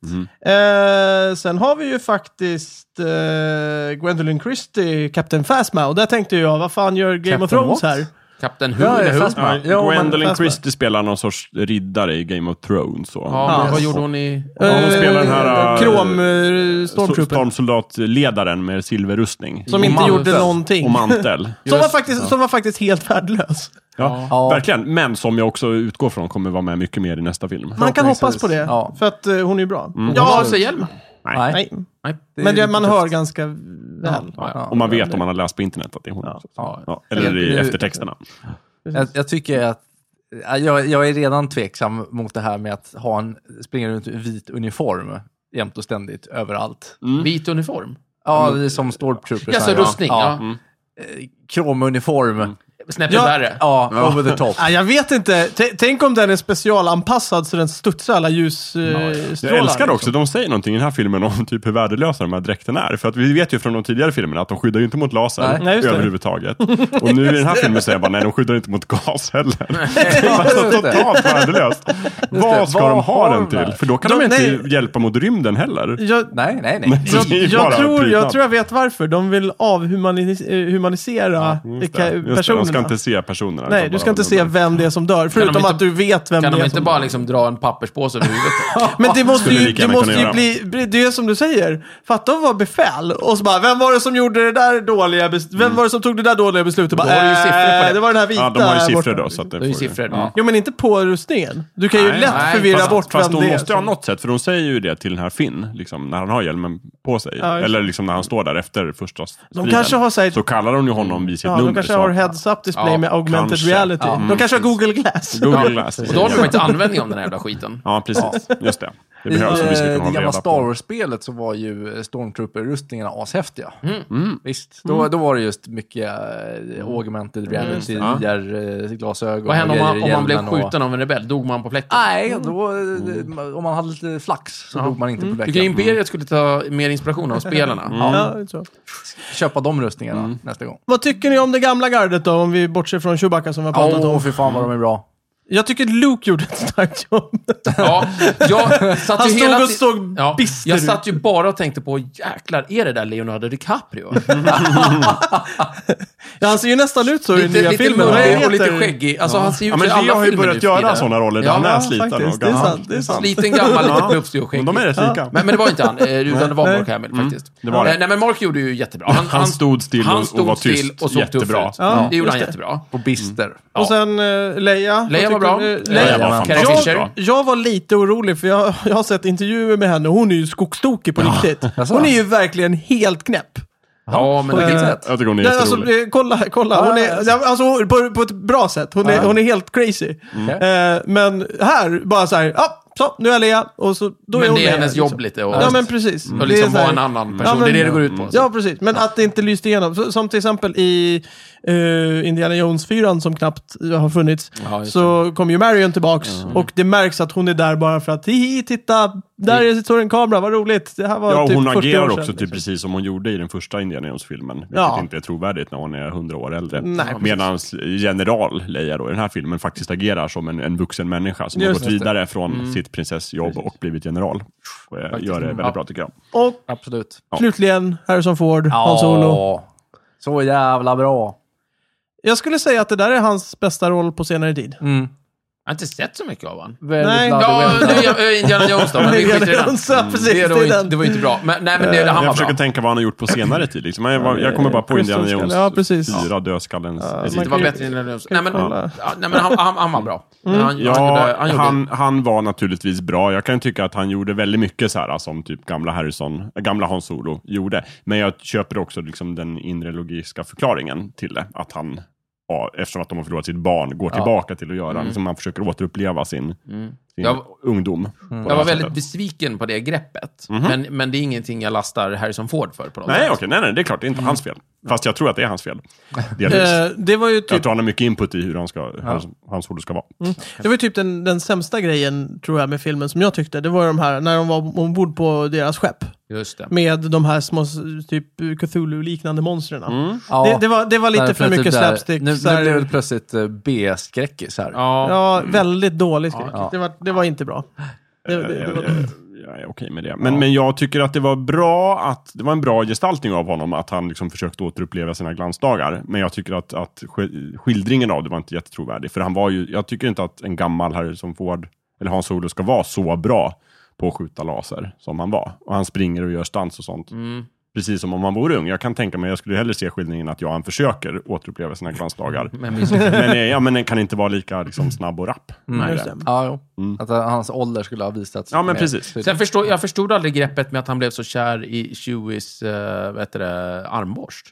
Speaker 1: Eh, sen har vi ju faktiskt eh, Gwendolyn Christie, Captain Phasma. Och där tänkte jag, vad fan gör Game of
Speaker 4: Captain
Speaker 1: Thrones
Speaker 4: what?
Speaker 1: här?
Speaker 2: Kapten Hu,
Speaker 4: Ja,
Speaker 2: eller hur?
Speaker 4: fast-
Speaker 2: Ja,
Speaker 3: Ja,
Speaker 4: Ja, men-
Speaker 3: Gwendolyn
Speaker 1: fast-
Speaker 3: Christie spelar någon sorts riddare i Game of Thrones. Så.
Speaker 2: men
Speaker 1: Ja.
Speaker 2: vad gjorde hon i...
Speaker 3: Ja, hon
Speaker 1: Eh,
Speaker 3: spelar den här, eh,
Speaker 1: Krom, eh,
Speaker 3: Så-
Speaker 1: Stormtrooper.
Speaker 3: Stormsoldatledaren med silverrustning.
Speaker 1: Som inte
Speaker 2: Och
Speaker 1: gjorde
Speaker 2: mantel.
Speaker 1: någonting.
Speaker 3: Och mantel.
Speaker 1: <laughs> Som var, faktiskt, som var faktiskt helt värdelös.
Speaker 3: Ja,
Speaker 4: Ja.
Speaker 3: Verkligen, men som jag också utgår från kommer vara med mycket mer i nästa film.
Speaker 1: Man kan
Speaker 4: Förhoppningsvis.
Speaker 1: hoppas på det,
Speaker 4: Ja.
Speaker 1: för att eh, hon är ju bra.
Speaker 2: Ja,
Speaker 1: Ja,
Speaker 2: så hjälm.
Speaker 3: Nej.
Speaker 1: nej.
Speaker 2: Nej.
Speaker 4: det
Speaker 1: Men
Speaker 4: är
Speaker 1: det,
Speaker 4: lite
Speaker 1: man
Speaker 4: tufft.
Speaker 1: hör ganska väl.
Speaker 4: Ja, ja.
Speaker 3: Och man vet om man har läst på internet att det är hon.
Speaker 1: Ja.
Speaker 4: Ja.
Speaker 3: Ja, eller i
Speaker 4: Jag-
Speaker 3: eftertexterna.
Speaker 4: Jag, jag tycker att ja, jag, jag är redan tveksam mot det här med att ha en, springa runt i vit uniform jämt och ständigt överallt.
Speaker 3: Mm.
Speaker 2: Mm. Vit uniform.
Speaker 4: Ja, det är som stormtroopers.
Speaker 2: Alltså rustning, ja.
Speaker 3: Mm.
Speaker 4: Kromuniform.
Speaker 2: Snäppet
Speaker 1: Ja.
Speaker 2: värre.
Speaker 4: Ja, over
Speaker 3: <laughs>
Speaker 4: the top.
Speaker 1: Ah, jag vet inte. T- tänk om den är specialanpassad så den studsar alla eh, ljusstrålar.
Speaker 3: Jag
Speaker 1: liksom.
Speaker 3: älskar också, de säger någonting i den här filmen om typ hur värdelösa de här dräkterna är. För att vi vet ju från de tidigare filmerna att de skyddar ju inte mot laser
Speaker 1: Nej, just det.
Speaker 3: överhuvudtaget. Och nu i den här filmen säger jag bara, nej de skyddar inte mot gas heller. <laughs>
Speaker 4: Just det.
Speaker 3: Totalt värdelöst. Vad ska
Speaker 4: Vad
Speaker 3: de
Speaker 4: har
Speaker 3: ha den
Speaker 4: de där?
Speaker 3: till? För då kan
Speaker 1: De-
Speaker 3: de, inte
Speaker 1: nej.
Speaker 3: hjälpa mot rymden heller.
Speaker 1: Jag,
Speaker 4: Nej, nej, nej.
Speaker 3: Så
Speaker 1: jag,
Speaker 3: det är ju
Speaker 1: jag,
Speaker 3: bara
Speaker 1: tror, jag
Speaker 3: prydnad.
Speaker 1: tror jag vet varför. De vill avhumanisera
Speaker 3: Just det, just det,
Speaker 1: personerna.
Speaker 3: De ska inte se personerna.
Speaker 1: Nej,
Speaker 3: utan
Speaker 1: du ska
Speaker 3: bara-
Speaker 1: inte se vem det är som dör, förutom
Speaker 2: inte-
Speaker 1: att du vet vem
Speaker 2: Kan
Speaker 1: det
Speaker 2: de
Speaker 1: är
Speaker 2: inte
Speaker 1: som
Speaker 2: bara liksom dra en papperspåse
Speaker 1: <laughs>
Speaker 2: över huvudet?
Speaker 1: Men det måste
Speaker 3: Ah, Skulle
Speaker 1: ju,
Speaker 3: lika
Speaker 1: det
Speaker 3: gärna
Speaker 1: måste
Speaker 3: kunna
Speaker 1: ju
Speaker 3: göra.
Speaker 1: bli, bli- det är som du säger. Fatta att vara befäl och så bara, vem var det som gjorde det där dåliga beslutet? Vem var det som tog det där dåliga beslutet? Bara,
Speaker 2: Då har du ju siffror på
Speaker 1: "Eh,
Speaker 2: det."
Speaker 1: var den här vita
Speaker 3: Mm. Ja, de har ju
Speaker 1: här
Speaker 3: siffror
Speaker 1: borta.
Speaker 3: då. Så att det
Speaker 2: Det är ju
Speaker 3: får ju-
Speaker 2: siffror. Ja.
Speaker 1: Jo, men inte på rustningen. Du kan ju
Speaker 3: Nej,
Speaker 1: lätt
Speaker 2: nej,
Speaker 1: förvirra
Speaker 2: fast-
Speaker 1: bort
Speaker 3: Fast
Speaker 1: vem
Speaker 3: hon
Speaker 1: det är.
Speaker 3: måste ju ha
Speaker 1: som-
Speaker 3: något sätt, för hon säger ju det till den här Finn, liksom, när han har hjälmen på sig.
Speaker 1: Ja, just
Speaker 3: Eller liksom när han står där efter första striden.
Speaker 1: De kanske har sagt,
Speaker 3: Så kallar hon ju honom vid sitt
Speaker 1: ja,
Speaker 3: nummer.
Speaker 1: de kanske
Speaker 3: så-
Speaker 1: har heads up display
Speaker 2: Ja,
Speaker 1: med augmented
Speaker 3: kanske. mm,
Speaker 1: reality.
Speaker 4: Ja,
Speaker 1: de kanske har Google Glass.
Speaker 3: Google Glass.
Speaker 2: Och då har de inte användning om den här jävla skiten.
Speaker 3: Ja, precis. Just det. Det
Speaker 4: I eh,
Speaker 3: behövs om vi ska kunna
Speaker 4: det
Speaker 3: hålla
Speaker 4: gamla
Speaker 3: reda
Speaker 4: Star
Speaker 3: på.
Speaker 4: Wars-spelet så var ju eh, Stormtrooper-rustningarna ashäftiga.
Speaker 3: Mm.
Speaker 4: Visst, då, då var det just mycket äh, augmented reality, eh,
Speaker 3: Ja.
Speaker 4: VR-glasögon
Speaker 2: Vad hände om man, om man blev skjuten av en rebell? Dog man på fläcken?
Speaker 4: Nej, då, eh, om man hade lite flax så dog man inte på
Speaker 2: Tycker
Speaker 4: veckan.
Speaker 2: Imperiet skulle ta mer inspiration av spelarna?
Speaker 1: Ja,
Speaker 3: Mm.
Speaker 1: jag tror.
Speaker 4: Köpa de rustningarna nästa gång.
Speaker 1: Vad tycker ni om det gamla gardet då? Om vi bortser från Chewbacca som vi har
Speaker 4: Åh,
Speaker 1: pratat om.
Speaker 4: fy fan vad de är bra.
Speaker 1: Jag tycker Luke gjorde ett <laughs> starkt jobb.
Speaker 2: Ja, jag satt
Speaker 1: Han
Speaker 2: ju
Speaker 1: stod
Speaker 2: hela
Speaker 1: och
Speaker 2: ti-
Speaker 1: såg
Speaker 2: ja,
Speaker 1: bister
Speaker 2: Jag
Speaker 1: ut.
Speaker 2: satt ju bara och tänkte på, jäklar, är det där Leonardo DiCaprio?
Speaker 1: Ja, han ser ju nästan ut så i den
Speaker 2: lite
Speaker 1: nya
Speaker 2: lite
Speaker 1: filmen. Vad
Speaker 2: murrig och
Speaker 1: heter-
Speaker 2: lite skäggig. Alltså, han ser ju
Speaker 3: Ja,
Speaker 2: ut
Speaker 3: men
Speaker 2: i
Speaker 3: vi
Speaker 2: alla
Speaker 3: har ju
Speaker 2: filmer
Speaker 3: börjat
Speaker 2: nu för
Speaker 3: göra
Speaker 2: tiden.
Speaker 3: sådana roller där
Speaker 2: Ja,
Speaker 3: han är
Speaker 1: ja,
Speaker 3: sliten
Speaker 1: faktiskt.
Speaker 3: och
Speaker 1: Det är
Speaker 3: gammal.
Speaker 1: sant. Det är sant.
Speaker 2: Liten gammal, lite plufsig och
Speaker 3: Men de
Speaker 2: skäggig.
Speaker 3: är rätt lika.
Speaker 2: Men, men det var inte han, eh, utan det var Mark Hamill faktiskt.
Speaker 3: det var det.
Speaker 2: Eh, Nej, men Mark gjorde ju jättebra. Han,
Speaker 3: Han stod still och- och var tyst. Jättebra.
Speaker 2: ut.
Speaker 1: Ja,
Speaker 2: det gjorde
Speaker 1: just
Speaker 2: han
Speaker 1: det.
Speaker 2: jättebra.
Speaker 4: Och bister.
Speaker 1: Och sen eh, Leia. Vad
Speaker 2: Leia
Speaker 1: tycker
Speaker 2: var bra.
Speaker 1: du? Eh,
Speaker 2: Leia
Speaker 1: Leia.
Speaker 3: var
Speaker 2: var
Speaker 3: fantastiskt
Speaker 2: Carrie
Speaker 3: bra.
Speaker 2: Fisher.
Speaker 1: Jag var lite orolig för jag, jag har sett intervjuer med henne och hon är ju skogstokig på riktigt.
Speaker 4: Jaså?
Speaker 1: Hon är ju verkligen helt knäpp.
Speaker 2: Ja, men
Speaker 4: På vilket
Speaker 2: det-
Speaker 4: sätt?
Speaker 3: Jag tycker hon är
Speaker 1: Nej, alltså,
Speaker 3: jätterolig.
Speaker 1: eh, kolla, kolla.
Speaker 3: Ah,
Speaker 1: Hon är, ja, alltså, hon- på, på ett bra sätt. Hon är, hon är helt crazy.
Speaker 3: Mm.
Speaker 1: Eh, men här, bara så här, ja, så, nu är jag Leia. Och så, då är
Speaker 2: Men
Speaker 1: hon
Speaker 2: det är
Speaker 1: Leia,
Speaker 2: hennes
Speaker 1: liksom.
Speaker 2: jobb lite. Och,
Speaker 1: Ja, men precis.
Speaker 2: och
Speaker 1: Det är
Speaker 2: liksom
Speaker 1: så här-
Speaker 2: vara en annan person.
Speaker 1: Ja, men-
Speaker 2: det är det det går ut på.
Speaker 1: Ja, precis. Men att det inte lyste igenom. Så, som till exempel i eh, Indiana Jones 4 som knappt eh, har funnits,
Speaker 2: Ja, just Mm.
Speaker 1: så kom ju Marion tillbaks och det märks att hon är där bara för att hihi, titta, där
Speaker 2: Mm.
Speaker 1: är, står en kamera, vad roligt. Det här var
Speaker 3: Ja, och
Speaker 1: typ
Speaker 3: hon
Speaker 1: 40
Speaker 3: agerar
Speaker 1: år sedan,
Speaker 3: också typ
Speaker 1: liksom.
Speaker 3: precis som hon gjorde i den första Indiana Jones-filmen. Vilket
Speaker 1: Ja.
Speaker 3: inte är trovärdigt när hon är 100 år äldre.
Speaker 1: Nej, precis.
Speaker 3: Medan general Leia då, i den här filmen faktiskt agerar som en, en vuxen människa som har
Speaker 1: Just
Speaker 3: gått
Speaker 1: det. Mm.
Speaker 3: vidare från sitt prinsessjobb och blivit general. Och eh, gör det väldigt
Speaker 2: Ja.
Speaker 3: bra tycker jag.
Speaker 1: Och
Speaker 4: Absolut.
Speaker 1: slutligen Harrison Ford, Hans Solo.
Speaker 4: Ja, Så jävla bra.
Speaker 1: <laughs> Jag skulle säga att det där är hans bästa roll på senare tid.
Speaker 2: Jag har inte sett så mycket av honom.
Speaker 4: Väldigt
Speaker 1: Nej.
Speaker 4: bloody
Speaker 2: Ja,
Speaker 4: well.
Speaker 2: nej, jag- jag- Indiana Jones då, men vi skiter i den.
Speaker 1: Ja, precis,
Speaker 2: Det, är då
Speaker 1: det är
Speaker 2: inte,
Speaker 1: den.
Speaker 2: det var ju inte bra. Men, nej, men det,
Speaker 3: Eh,
Speaker 2: han
Speaker 3: jag
Speaker 2: var
Speaker 3: försöker
Speaker 2: bra.
Speaker 3: tänka vad han har gjort på senare tid. Liksom. Jag, jag kommer bara på
Speaker 1: Crystal
Speaker 3: Indiana
Speaker 1: Skull,
Speaker 3: Jones
Speaker 1: eh, ja, precis.
Speaker 3: fyra dödskallens
Speaker 1: Ja,
Speaker 3: elit.
Speaker 1: man
Speaker 2: Det var
Speaker 1: kan ju-
Speaker 2: bättre än Indiana Jones. Nej, men,
Speaker 1: kolla.
Speaker 2: ja, nej, men han, han, han var bra. Han,
Speaker 3: Ja,
Speaker 2: han, gjorde, han
Speaker 3: han,
Speaker 2: gjorde...
Speaker 3: han, var naturligtvis bra. Jag kan tycka att han gjorde väldigt mycket så här som typ gamla Harrison, äh, gamla Hans Solo gjorde. Men jag köper också liksom den inre logiska förklaringen till det. Att han, ja, eftersom att de har förlorat sitt barn, går tillbaka till att göra, liksom han försöker återuppleva sin, sin
Speaker 2: Mm. Jag- Mm.
Speaker 3: ungdom.
Speaker 2: Jag var väldigt besviken på det greppet. men, men det är ingenting jag lastar Harrison Ford för på något
Speaker 3: Nej,
Speaker 2: sätt.
Speaker 3: okej, nej, nej, det är klart, det är
Speaker 2: Mm.
Speaker 3: inte hans fel. Fast jag tror att det är hans
Speaker 2: <laughs>
Speaker 3: fel. Delvis.
Speaker 1: Eh, det var ju
Speaker 3: Jag
Speaker 1: typ,
Speaker 3: tror han har mycket input i hur han ska, hans, hans Solo ska vara.
Speaker 1: det var ju typ den, den sämsta grejen, tror jag, med filmen som jag tyckte. Det var ju de här, när de var ombord på deras skepp.
Speaker 2: Just det.
Speaker 1: Med de här små, s- typ Cthulhu-liknande monstren.
Speaker 4: Ja.
Speaker 1: Det, det, var, det var lite för
Speaker 4: Där plötsligt
Speaker 1: mycket
Speaker 4: där-
Speaker 1: slapstick.
Speaker 4: Nu,
Speaker 1: så här-
Speaker 4: nu blev det plötsligt eh, B-skräckis här.
Speaker 2: Ja.
Speaker 1: Ja, väldigt dålig skräck.
Speaker 4: Ja.
Speaker 1: Det, var, det var inte bra. Det, det, det,
Speaker 3: Jag,
Speaker 1: var-
Speaker 3: jag, jag är okej med det. Men, men jag tycker att det var bra att det var en bra gestaltning av honom, att han liksom försökte återuppleva sina glansdagar. Men jag tycker att, att sk- skildringen av det var inte jättetrovärdig. För han var ju, jag tycker inte att en gammal herre som Ford, eller Hans Solo ska vara så bra på att skjuta laser som han var. Och han springer och gör stans och sånt. Precis som om han vore ung. Jag kan tänka mig, jag skulle hellre se skildringen att ja, han försöker återuppleva sina glansdagar.
Speaker 2: Men misslyckades.
Speaker 3: men, eh, ja, men den kan inte vara lika liksom, snabb och rapp. Nej,
Speaker 1: just
Speaker 3: det.
Speaker 1: det.
Speaker 4: Ja, jo.
Speaker 2: Mm.
Speaker 4: Att eh, hans ålder skulle ha visats.
Speaker 3: Ja, men
Speaker 4: mer
Speaker 3: precis.
Speaker 4: tydligt.
Speaker 2: Sen förstod, jag förstod aldrig greppet med att han blev så kär i Chewies uh, vad heter det, armborst.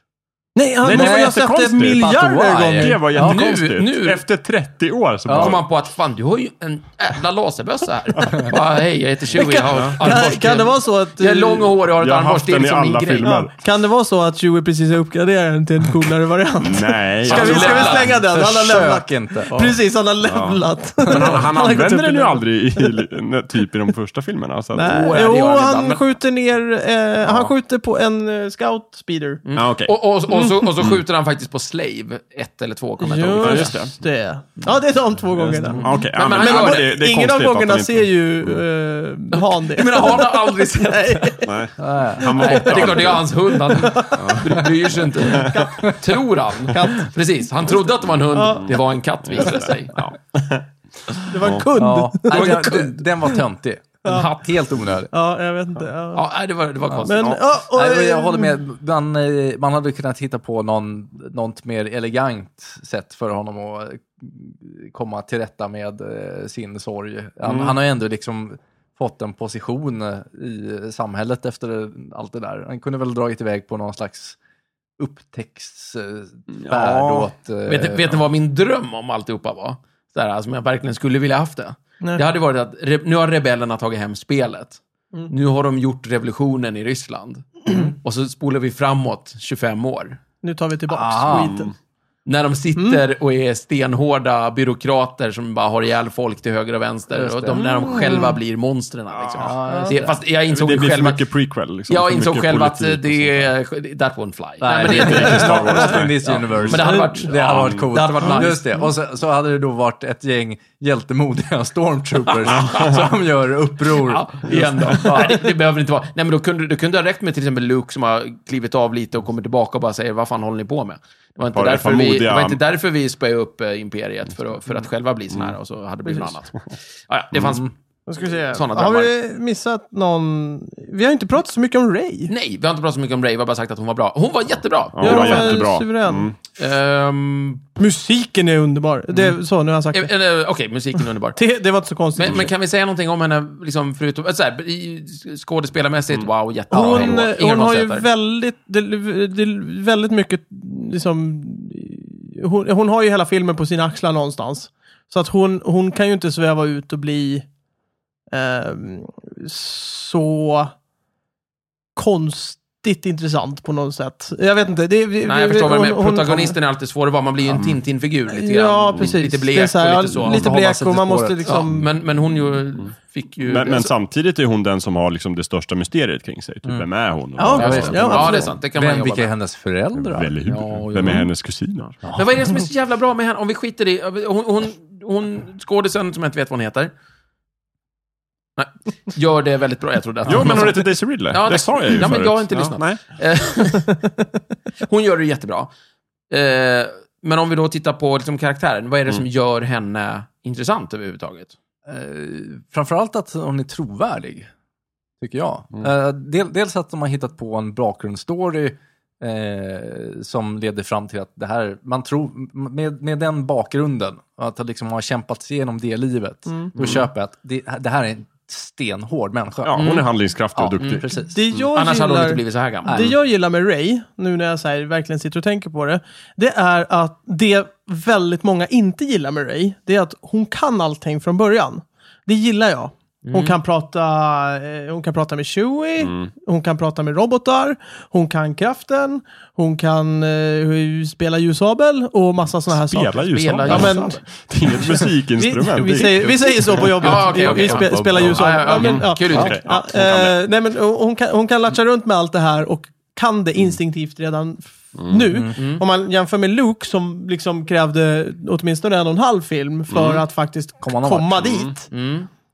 Speaker 1: Nej, han
Speaker 3: Nej, det
Speaker 1: måste
Speaker 3: var
Speaker 1: ha sett det
Speaker 3: jättekonstigt.
Speaker 1: miljarder
Speaker 4: Fast why?
Speaker 1: gånger.
Speaker 3: Det var
Speaker 2: Ja,
Speaker 3: jättekonstigt.
Speaker 2: nu- nu-
Speaker 3: Efter 30 år så
Speaker 2: Då kom
Speaker 3: bara,
Speaker 2: han på att fan, du har ju en jävla laserbössa här. Bara, Hej, jag heter Chewie, jag har
Speaker 1: Kan,
Speaker 2: armborst.
Speaker 1: kan det vara så att...
Speaker 2: Jag är lång och hårig och har ett
Speaker 3: jag har
Speaker 2: armborst.
Speaker 3: haft
Speaker 2: Det är
Speaker 3: den i
Speaker 2: liksom min
Speaker 3: alla
Speaker 2: grej.
Speaker 3: filmer.
Speaker 1: Ja, kan det vara så att Chewie precis har uppgraderat den till en coolare variant?
Speaker 3: Nej, alltså,
Speaker 1: Ska vi, ska vi slänga den? Han har
Speaker 4: Försök
Speaker 1: levlat.
Speaker 4: inte. Ja.
Speaker 1: Precis, han har levlat.
Speaker 3: Men
Speaker 1: <laughs>
Speaker 3: han, han
Speaker 1: har gått upp
Speaker 3: använder
Speaker 1: i
Speaker 3: den ju
Speaker 1: level.
Speaker 3: aldrig i, i, typ i de första filmerna. Så att,
Speaker 1: Nej.
Speaker 2: Jo, det
Speaker 1: Jo,
Speaker 2: gör han
Speaker 1: han
Speaker 2: ibland, men-
Speaker 1: skjuter ner... Eh, Han skjuter på en eh, scout speeder.
Speaker 3: Ja, okej.
Speaker 2: Och, och, och, så, och så skjuter han faktiskt på Slave, ett eller två. Kommer jag inte ihåg.
Speaker 3: just
Speaker 1: Just det. Ja, det är de två gångerna.
Speaker 3: Ja, okej. Ja,
Speaker 2: Men-
Speaker 3: men
Speaker 2: men-
Speaker 3: ja,
Speaker 2: men-
Speaker 3: det- det är
Speaker 1: Ingen av
Speaker 3: konstigt att
Speaker 1: gångerna
Speaker 3: han inte-
Speaker 1: ser ju eh, Han det.
Speaker 2: Men han har aldrig sett
Speaker 1: <laughs> Nej.
Speaker 3: Nej.
Speaker 4: Ja, ja.
Speaker 3: Han var
Speaker 2: Nej, det är
Speaker 3: borta.
Speaker 2: klart, det är hans hund. Han bryr sig inte. Tror han. Precis, han trodde att det var en hund. Det var en katt visade det sig.
Speaker 1: Det var en kund.
Speaker 4: Ja.
Speaker 1: Ja,
Speaker 4: Nej, den- den, den var töntig.
Speaker 2: En hatt.
Speaker 4: Helt onödig.
Speaker 1: jag vet inte. Ja.
Speaker 2: Ja, nej, det var, det var konstigt.
Speaker 1: Men,
Speaker 2: Ja.
Speaker 1: ja, och,
Speaker 4: Nej, men jag
Speaker 1: eh,
Speaker 4: håller med. Man, eh, man hade kunnat hitta på någon, något mer elegant sätt för honom att eh, komma till rätta med eh, sin sorg. Han, han har ju ändå liksom fått en position eh, i samhället efter eh, allt det där. Han kunde väl dragit iväg på någon slags upptäcktsfärd
Speaker 3: Ja.
Speaker 4: åt... eh,
Speaker 2: Vet, ni- vet ni vad min dröm om alltihopa var? Så här, som jag verkligen skulle vilja haft det.
Speaker 1: Nej.
Speaker 2: Det hade varit att re, nu har rebellerna tagit hem spelet.
Speaker 1: Mm.
Speaker 2: Nu har de gjort revolutionen i Ryssland. Och så spolar vi framåt 25 år.
Speaker 1: Nu tar vi tillbaks
Speaker 4: Ah.
Speaker 1: skiten.
Speaker 2: När de sitter och är stenhårda byråkrater som bara har ihjäl folk till höger och vänster.
Speaker 4: Just
Speaker 2: Och
Speaker 4: det.
Speaker 2: de, när de själva blir monstren. Liksom.
Speaker 4: Ja, just
Speaker 2: det, fast jag insåg
Speaker 3: Det
Speaker 2: ju
Speaker 3: blir för
Speaker 2: själv att...
Speaker 3: mycket prequel. Liksom,
Speaker 2: Jag
Speaker 3: för
Speaker 2: insåg
Speaker 3: mycket
Speaker 2: själv att
Speaker 3: politik och
Speaker 2: det är... That won't fly. Nej, men det,
Speaker 4: det
Speaker 2: är
Speaker 4: är
Speaker 2: inte-
Speaker 4: inte Star Wars. In this universe.
Speaker 2: Men det hade varit-
Speaker 4: det hade varit coolt.
Speaker 2: det hade varit nice.
Speaker 4: Just det. Och så, så hade det då varit ett gäng
Speaker 2: <laughs>
Speaker 4: hjältemodiga <laughs> stormtroopers som gör
Speaker 2: <laughs>
Speaker 4: uppror.
Speaker 2: Ja, igen då. Nej, det, det behöver inte vara. Nej, men då kunde, då kunde det ha räckt med till exempel Luke som har klivit av lite och kommer tillbaka och bara säger vad fan håller ni på med? Det var inte,
Speaker 3: Bara det
Speaker 2: därför
Speaker 3: för
Speaker 2: vi,
Speaker 3: modiga-
Speaker 2: det var inte därför vi spöade upp eh, imperiet, för att, för att själva bli såna här och så hade det blivit något annat. Ja, ja, det fanns...
Speaker 1: Vad ska vi säga?
Speaker 2: Såna
Speaker 1: har vi missat någon? Vi har inte pratat så mycket om Ray.
Speaker 2: Nej, vi har inte pratat så mycket om Ray, vi har bara sagt att hon var bra. Hon var jättebra!
Speaker 3: Ja, det var
Speaker 1: hon var
Speaker 3: jättebra.
Speaker 1: suverän.
Speaker 3: Mm.
Speaker 2: Ehm,
Speaker 1: Musiken är underbar. Det,
Speaker 3: Mm.
Speaker 1: så, nu har jag sagt
Speaker 2: eh,
Speaker 1: det.
Speaker 2: eh, Okej, musiken är underbar.
Speaker 1: Det, det var inte så konstigt.
Speaker 2: Men, men kan vi säga någonting om henne, liksom, förutom, äh, så här, i- skådespelarmässigt, wow, jättebra.
Speaker 1: Mm. hon eh,
Speaker 2: Inga
Speaker 1: hon har ju
Speaker 2: konstigheter.
Speaker 1: väldigt, det, det, väldigt mycket, liksom, hon, hon har ju hela filmen på sina axlar någonstans. Så att hon, hon kan ju inte sväva ut och bli ehm, så konstigt intressant på något sätt. Jag vet inte. Det,
Speaker 2: Nej, jag förstår vad du menar. Protagonisten är alltid svår att vara. Man blir ju en Tintin-figur lite grann.
Speaker 1: Ja, precis.
Speaker 2: Lite
Speaker 1: Det är
Speaker 2: blek
Speaker 1: så här,
Speaker 2: och lite så.
Speaker 1: ja, Lite
Speaker 4: Man får hålla
Speaker 1: blek Mm.
Speaker 4: sig
Speaker 1: och
Speaker 4: till
Speaker 1: man måste
Speaker 4: spåret.
Speaker 2: ja,
Speaker 1: liksom...
Speaker 2: men, men hon ju fick ju...
Speaker 3: Men, men
Speaker 2: alltså,
Speaker 3: samtidigt är hon den som har liksom det största mysteriet kring sig. Typ, Vem är hon? Och
Speaker 1: Ja,
Speaker 3: vad-
Speaker 2: ja,
Speaker 1: visst.
Speaker 2: det,
Speaker 1: Ja,
Speaker 2: ja, det är
Speaker 1: absolut.
Speaker 2: sant. Det kan man
Speaker 4: Vem,
Speaker 2: jobba
Speaker 4: vilka är
Speaker 2: med.
Speaker 4: hennes föräldrar?
Speaker 3: Väl hur?
Speaker 4: Ja, jo.
Speaker 3: Vem är hennes kusiner?
Speaker 2: Men vad är det som är så jävla bra med henne? Om vi skiter i... Hon, hon, hon skådisen, som jag inte vet vad hon heter. Nej, gör det väldigt bra. Jag trodde att...
Speaker 3: Jo, men hon heter Daisy Ridley.
Speaker 2: Ja,
Speaker 3: det
Speaker 2: tack.
Speaker 3: sa jag ju
Speaker 2: Ja, men
Speaker 3: förut.
Speaker 2: jag har inte lyssnat.
Speaker 3: nej.
Speaker 2: Eh, <laughs> hon gör det jättebra. Eh, Men om vi då tittar på liksom karaktären, vad är det som gör henne intressant överhuvudtaget.
Speaker 4: Eh, framförallt att hon är trovärdig, tycker jag. Eh, del, dels att de har hittat på en bakgrundsstory eh, som leder fram till att det här, man tror, med, med den bakgrunden, och att han liksom har kämpat sig igenom det livet,
Speaker 2: Mm.
Speaker 4: då köper jag att det, det här är en stenhård människa.
Speaker 3: Ja, hon är handlingskraftig och
Speaker 4: Ja,
Speaker 3: duktig.
Speaker 4: precis.
Speaker 1: Det jag
Speaker 2: Annars hade hon inte
Speaker 1: gillar...
Speaker 2: blivit så här gammal.
Speaker 1: Det jag gillar med Ray, nu när jag så här verkligen sitter och tänker på det, det är att det väldigt många inte gillar med Ray, det är att hon kan allting från början. Det gillar jag. Hon,
Speaker 2: Mm.
Speaker 1: kan, prata, eh, hon kan prata med Chewie, hon kan prata med robotar, hon kan kraften, hon kan eh, spela ljussabel och massa sådana här
Speaker 3: Spela
Speaker 1: saker.
Speaker 3: ljussabel.
Speaker 1: Ja, men-
Speaker 3: Det är
Speaker 1: <laughs>
Speaker 3: inget
Speaker 1: Vi,
Speaker 3: musikinstrument.
Speaker 1: vi,
Speaker 3: Det är-
Speaker 1: säger, vi säger så på jobbet.
Speaker 2: Ja, okej,
Speaker 1: vi vi
Speaker 2: okej.
Speaker 1: spe, spelar ljussabel.
Speaker 2: Ja, ja, ja.
Speaker 1: Ja, men,
Speaker 2: Mm.
Speaker 1: ja.
Speaker 2: Kul
Speaker 1: Ja.
Speaker 2: uttryck.
Speaker 1: Ja, eh, nej, men hon, hon, kan, hon kan latcha runt med allt det här och kan
Speaker 2: Mm.
Speaker 1: det instinktivt redan f- nu. Om man jämför med Luke som liksom krävde åtminstone en och en halv film för
Speaker 2: Mm.
Speaker 1: att faktiskt
Speaker 4: Komma någon
Speaker 1: komma dit.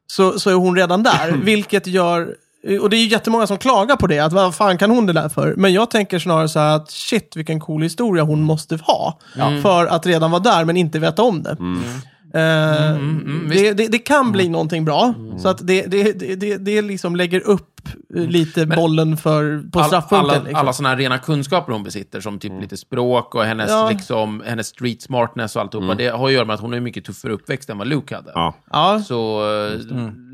Speaker 1: Så, så är hon redan där,
Speaker 2: Mm.
Speaker 1: vilket gör och det är ju jättemånga som klagar på det, att vad fan kan hon det där för? Men jag tänker snarare så här att shit vilken cool historia hon måste ha.
Speaker 2: Mm.
Speaker 1: För att redan vara där men inte veta om det. Eh,
Speaker 2: Mm,
Speaker 1: det, det, det kan bli någonting bra. Så att det, det, det, det, det liksom lägger upp eh, lite bollen för, på
Speaker 2: Mm. All,
Speaker 1: straffpunkten.
Speaker 2: alla
Speaker 1: liksom.
Speaker 2: alla sådana här rena kunskaper hon besitter, som typ lite språk och hennes,
Speaker 1: Ja.
Speaker 2: liksom, hennes street smartness och alltihopa, det har att göra med att hon är mycket tuffare uppväxt än vad Luke hade.
Speaker 3: Ja.
Speaker 1: ja. Mm.
Speaker 2: Så,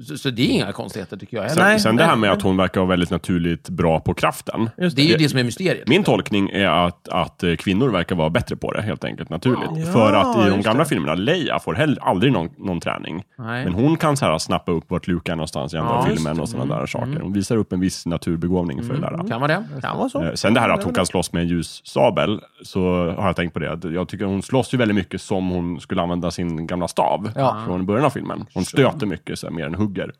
Speaker 2: så, så det är inga konstigheter tycker jag heller.
Speaker 3: Sen,
Speaker 1: Nej,
Speaker 3: sen det
Speaker 1: nej.
Speaker 3: här med att hon verkar vara väldigt naturligt bra på kraften.
Speaker 1: Just
Speaker 2: Det är ju det som är mysteriet.
Speaker 3: Min tolkning är att, att eh, kvinnor verkar vara bättre på det, helt enkelt, naturligt.
Speaker 1: Ja,
Speaker 3: För att i de
Speaker 1: just
Speaker 3: gamla filmerna, Leia får heller aldrig någon, någon träning.
Speaker 2: Nej.
Speaker 3: Men hon kan så här, snappa upp vart Luke är någonstans i andra
Speaker 2: Ja, just
Speaker 3: filmen och sådana
Speaker 1: Mm.
Speaker 3: där saker. Hon visar upp en viss naturbegåvning för det där.
Speaker 2: Kan vara det.
Speaker 1: Kan vara så.
Speaker 3: Eh, Sen det här att hon kan slåss med en ljussabel, så har jag tänkt på det. att Jag tycker hon slåss ju väldigt mycket som hon skulle använda sin gamla stav
Speaker 4: Ja.
Speaker 3: från början av filmen. Hon stöter mycket så här, mer än hugger.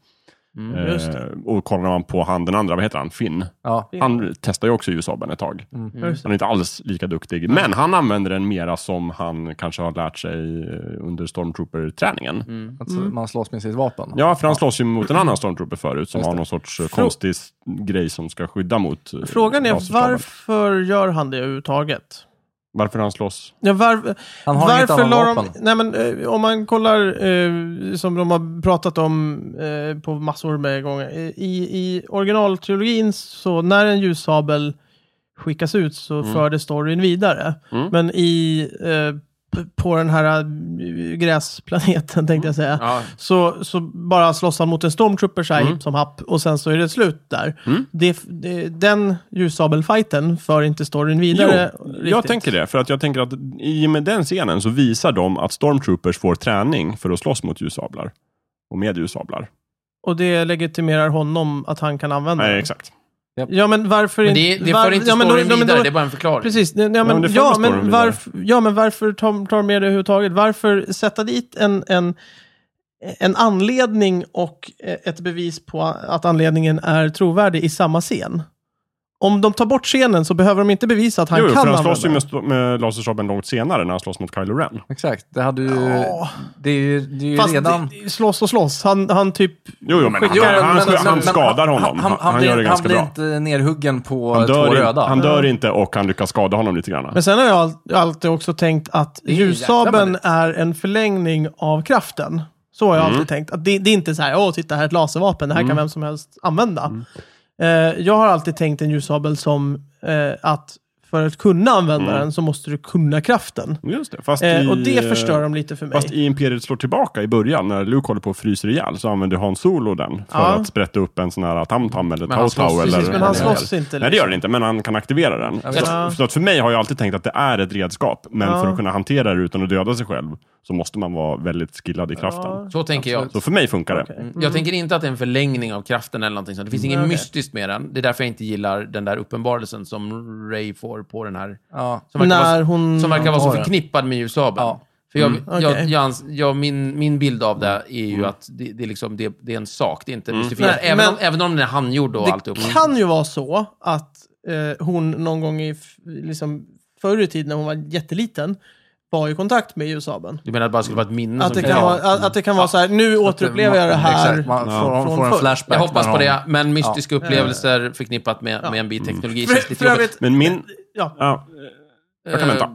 Speaker 4: Mm,
Speaker 3: eh, och kollar man på han den andra, vad heter han? Finn.
Speaker 4: Ja.
Speaker 3: Han testar ju också ljussabeln ett tag.
Speaker 4: Mm.
Speaker 1: Just
Speaker 3: Han är inte alls lika duktig, men han använder den mera som han kanske har lärt sig eh, under stormtrooper-träningen.
Speaker 4: Att man slåss med sitt vapen.
Speaker 3: Ja, för han slåss ju mot en annan stormtrooper förut som
Speaker 4: Just
Speaker 3: har
Speaker 4: det.
Speaker 3: någon sorts eh, konstig s- grej som ska skydda mot eh,
Speaker 1: Frågan är
Speaker 3: laserstrålar.
Speaker 1: varför gör han det överhuvudtaget?
Speaker 3: Varför han slåss?
Speaker 1: Ja, var,
Speaker 4: Han har inget
Speaker 1: varför
Speaker 4: annat
Speaker 1: la de,
Speaker 4: vapen.
Speaker 1: nej men, eh, Om man kollar, eh, som de har pratat om eh, på massor med gånger. eh, I, i originaltrilogin, så när en ljussabel skickas ut så
Speaker 4: Mm.
Speaker 1: för det storyn vidare. Men i, eh, p- på den här eh, gräsplaneten, <laughs> tänkte jag säga,
Speaker 4: Mm.
Speaker 2: Ja.
Speaker 1: så, så bara slåss han mot en stormtrooper så här, hipp som happ och sen så är det slut där.
Speaker 4: Mm.
Speaker 1: Det, det, den ljussabelfighten för inte storyn vidare.
Speaker 3: Jo, jag
Speaker 1: riktigt.
Speaker 3: tänker det. För att jag tänker att i och med den scenen så visar de att stormtroopers får träning för att slåss mot ljussablar. Och med ljussablar.
Speaker 1: Och det legitimerar honom att han kan använda
Speaker 3: Nej,
Speaker 1: den.
Speaker 3: exakt.
Speaker 1: Ja, men varför
Speaker 2: Men det, det
Speaker 1: var-
Speaker 2: för inte
Speaker 1: ja, men då-
Speaker 2: storyn
Speaker 1: ja, men då-
Speaker 2: vidare, det är bara en förklaring.
Speaker 1: Precis, ja men,
Speaker 3: men det för
Speaker 1: ja,
Speaker 3: inte storyn
Speaker 1: men,
Speaker 3: vidare.
Speaker 1: varför, ja, men varför tar, tar med det överhuvudtaget? Varför sätta dit en, en, en anledning och eh, ett bevis på att anledningen är trovärdig i samma scen? Om de tar bort scenen så behöver de inte bevisa att han
Speaker 3: jo,
Speaker 1: kan
Speaker 3: jo, för han
Speaker 1: använda
Speaker 3: slåss ju
Speaker 1: den.
Speaker 3: med, st- med lasersabeln långt senare när han slåss mot Kylo Ren.
Speaker 4: Exakt, det hade ju...
Speaker 1: Ja.
Speaker 4: Det är ju, det är ju
Speaker 1: Fast
Speaker 4: redan...
Speaker 1: det- slåss och slåss. Han, han typ...
Speaker 3: Jo, jo men han,
Speaker 1: Jo, men-
Speaker 3: han, han,
Speaker 1: men-
Speaker 3: han skadar honom. Han, han, gör det
Speaker 4: blir,
Speaker 3: ganska
Speaker 4: han
Speaker 3: bra.
Speaker 4: blir inte nerhuggen på
Speaker 3: Han
Speaker 4: två
Speaker 3: dör, in,
Speaker 4: röda.
Speaker 3: han dör inte och han lyckas skada honom lite grann.
Speaker 1: Men sen har jag all- alltid också tänkt att
Speaker 4: är ju
Speaker 1: ljussabeln
Speaker 4: jäkla
Speaker 1: är en förlängning av kraften. Så har jag
Speaker 2: Mm.
Speaker 1: alltid tänkt. Att det, det är inte så här, åh titta här är ett laservapen, det här kan vem som helst använda.
Speaker 2: Mm.
Speaker 1: Eh, jag har alltid tänkt en ljussabel som eh, att för att kunna använda
Speaker 2: Mm.
Speaker 1: den så måste du kunna kraften.
Speaker 3: Just det, fast i,
Speaker 1: Eh, och det
Speaker 3: eh,
Speaker 1: förstör de lite för mig.
Speaker 3: Fast i Imperiet slår tillbaka i början, när Luke håller på och fryser ihjäl, så använder Han Solo den för
Speaker 1: Ja.
Speaker 3: att sprätta upp en sån här tam-tam eller
Speaker 2: Men han slåss-
Speaker 3: tau-tau.
Speaker 2: precis,
Speaker 3: eller-
Speaker 1: men han slåss inte,
Speaker 3: Nej, det gör
Speaker 1: liksom.
Speaker 3: den inte, men han kan aktivera den. Så,
Speaker 1: Ja.
Speaker 3: så att för mig har jag alltid tänkt att det är ett redskap, men
Speaker 1: Ja.
Speaker 3: för att kunna hantera det utan att döda sig själv, så måste man vara väldigt skillad i kraften.
Speaker 2: Så tänker jag.
Speaker 3: Så för mig funkar det.
Speaker 2: Jag tänker inte att det är en förlängning av kraften eller någonting sånt. Det finns inget
Speaker 1: Mm. okej.
Speaker 2: mystiskt med den. Det är därför jag inte gillar den där uppenbarelsen som Ray får på den här.
Speaker 4: Ja.
Speaker 2: Som verkar,
Speaker 1: När
Speaker 2: vara,
Speaker 1: hon-
Speaker 2: som verkar vara
Speaker 4: har
Speaker 2: så
Speaker 4: den.
Speaker 2: förknippad med ljussabeln.
Speaker 4: Ja.
Speaker 2: För jag, jag,
Speaker 1: Mm, Okej.
Speaker 2: jag, ans- jag, min, min bild av
Speaker 3: Mm.
Speaker 2: det är ju att det, det, är liksom, det, det är en sak, det är inte mystifierat.
Speaker 1: Nej,
Speaker 2: Även,
Speaker 1: men-
Speaker 2: om, även om den är handgjord och
Speaker 1: Det
Speaker 2: alltihop. Mm.
Speaker 1: kan ju vara så att eh, hon någon gång i, f- liksom, förr i tiden när hon var jätteliten var i kontakt med ljussabeln.
Speaker 2: Du menar att det bara skulle vara ett minne
Speaker 1: Att
Speaker 2: som
Speaker 1: det
Speaker 2: finns
Speaker 1: kan
Speaker 2: kvar?
Speaker 1: vara, att, att det kan vara så här, nu återupplever jag det här.
Speaker 4: Exakt, man får,
Speaker 1: Från
Speaker 4: man får en
Speaker 1: förr.
Speaker 4: flashback.
Speaker 2: Jag hoppas
Speaker 4: när
Speaker 2: på
Speaker 4: de-
Speaker 2: det, men mystiska upplevelser
Speaker 3: Mm.
Speaker 2: förknippat med, med en bit teknologi känns
Speaker 1: För,
Speaker 2: lite
Speaker 1: för
Speaker 2: jobbigt.
Speaker 1: övrigt,
Speaker 3: Men min...
Speaker 1: ja.
Speaker 3: Ja, jag kan vänta.
Speaker 2: Eh,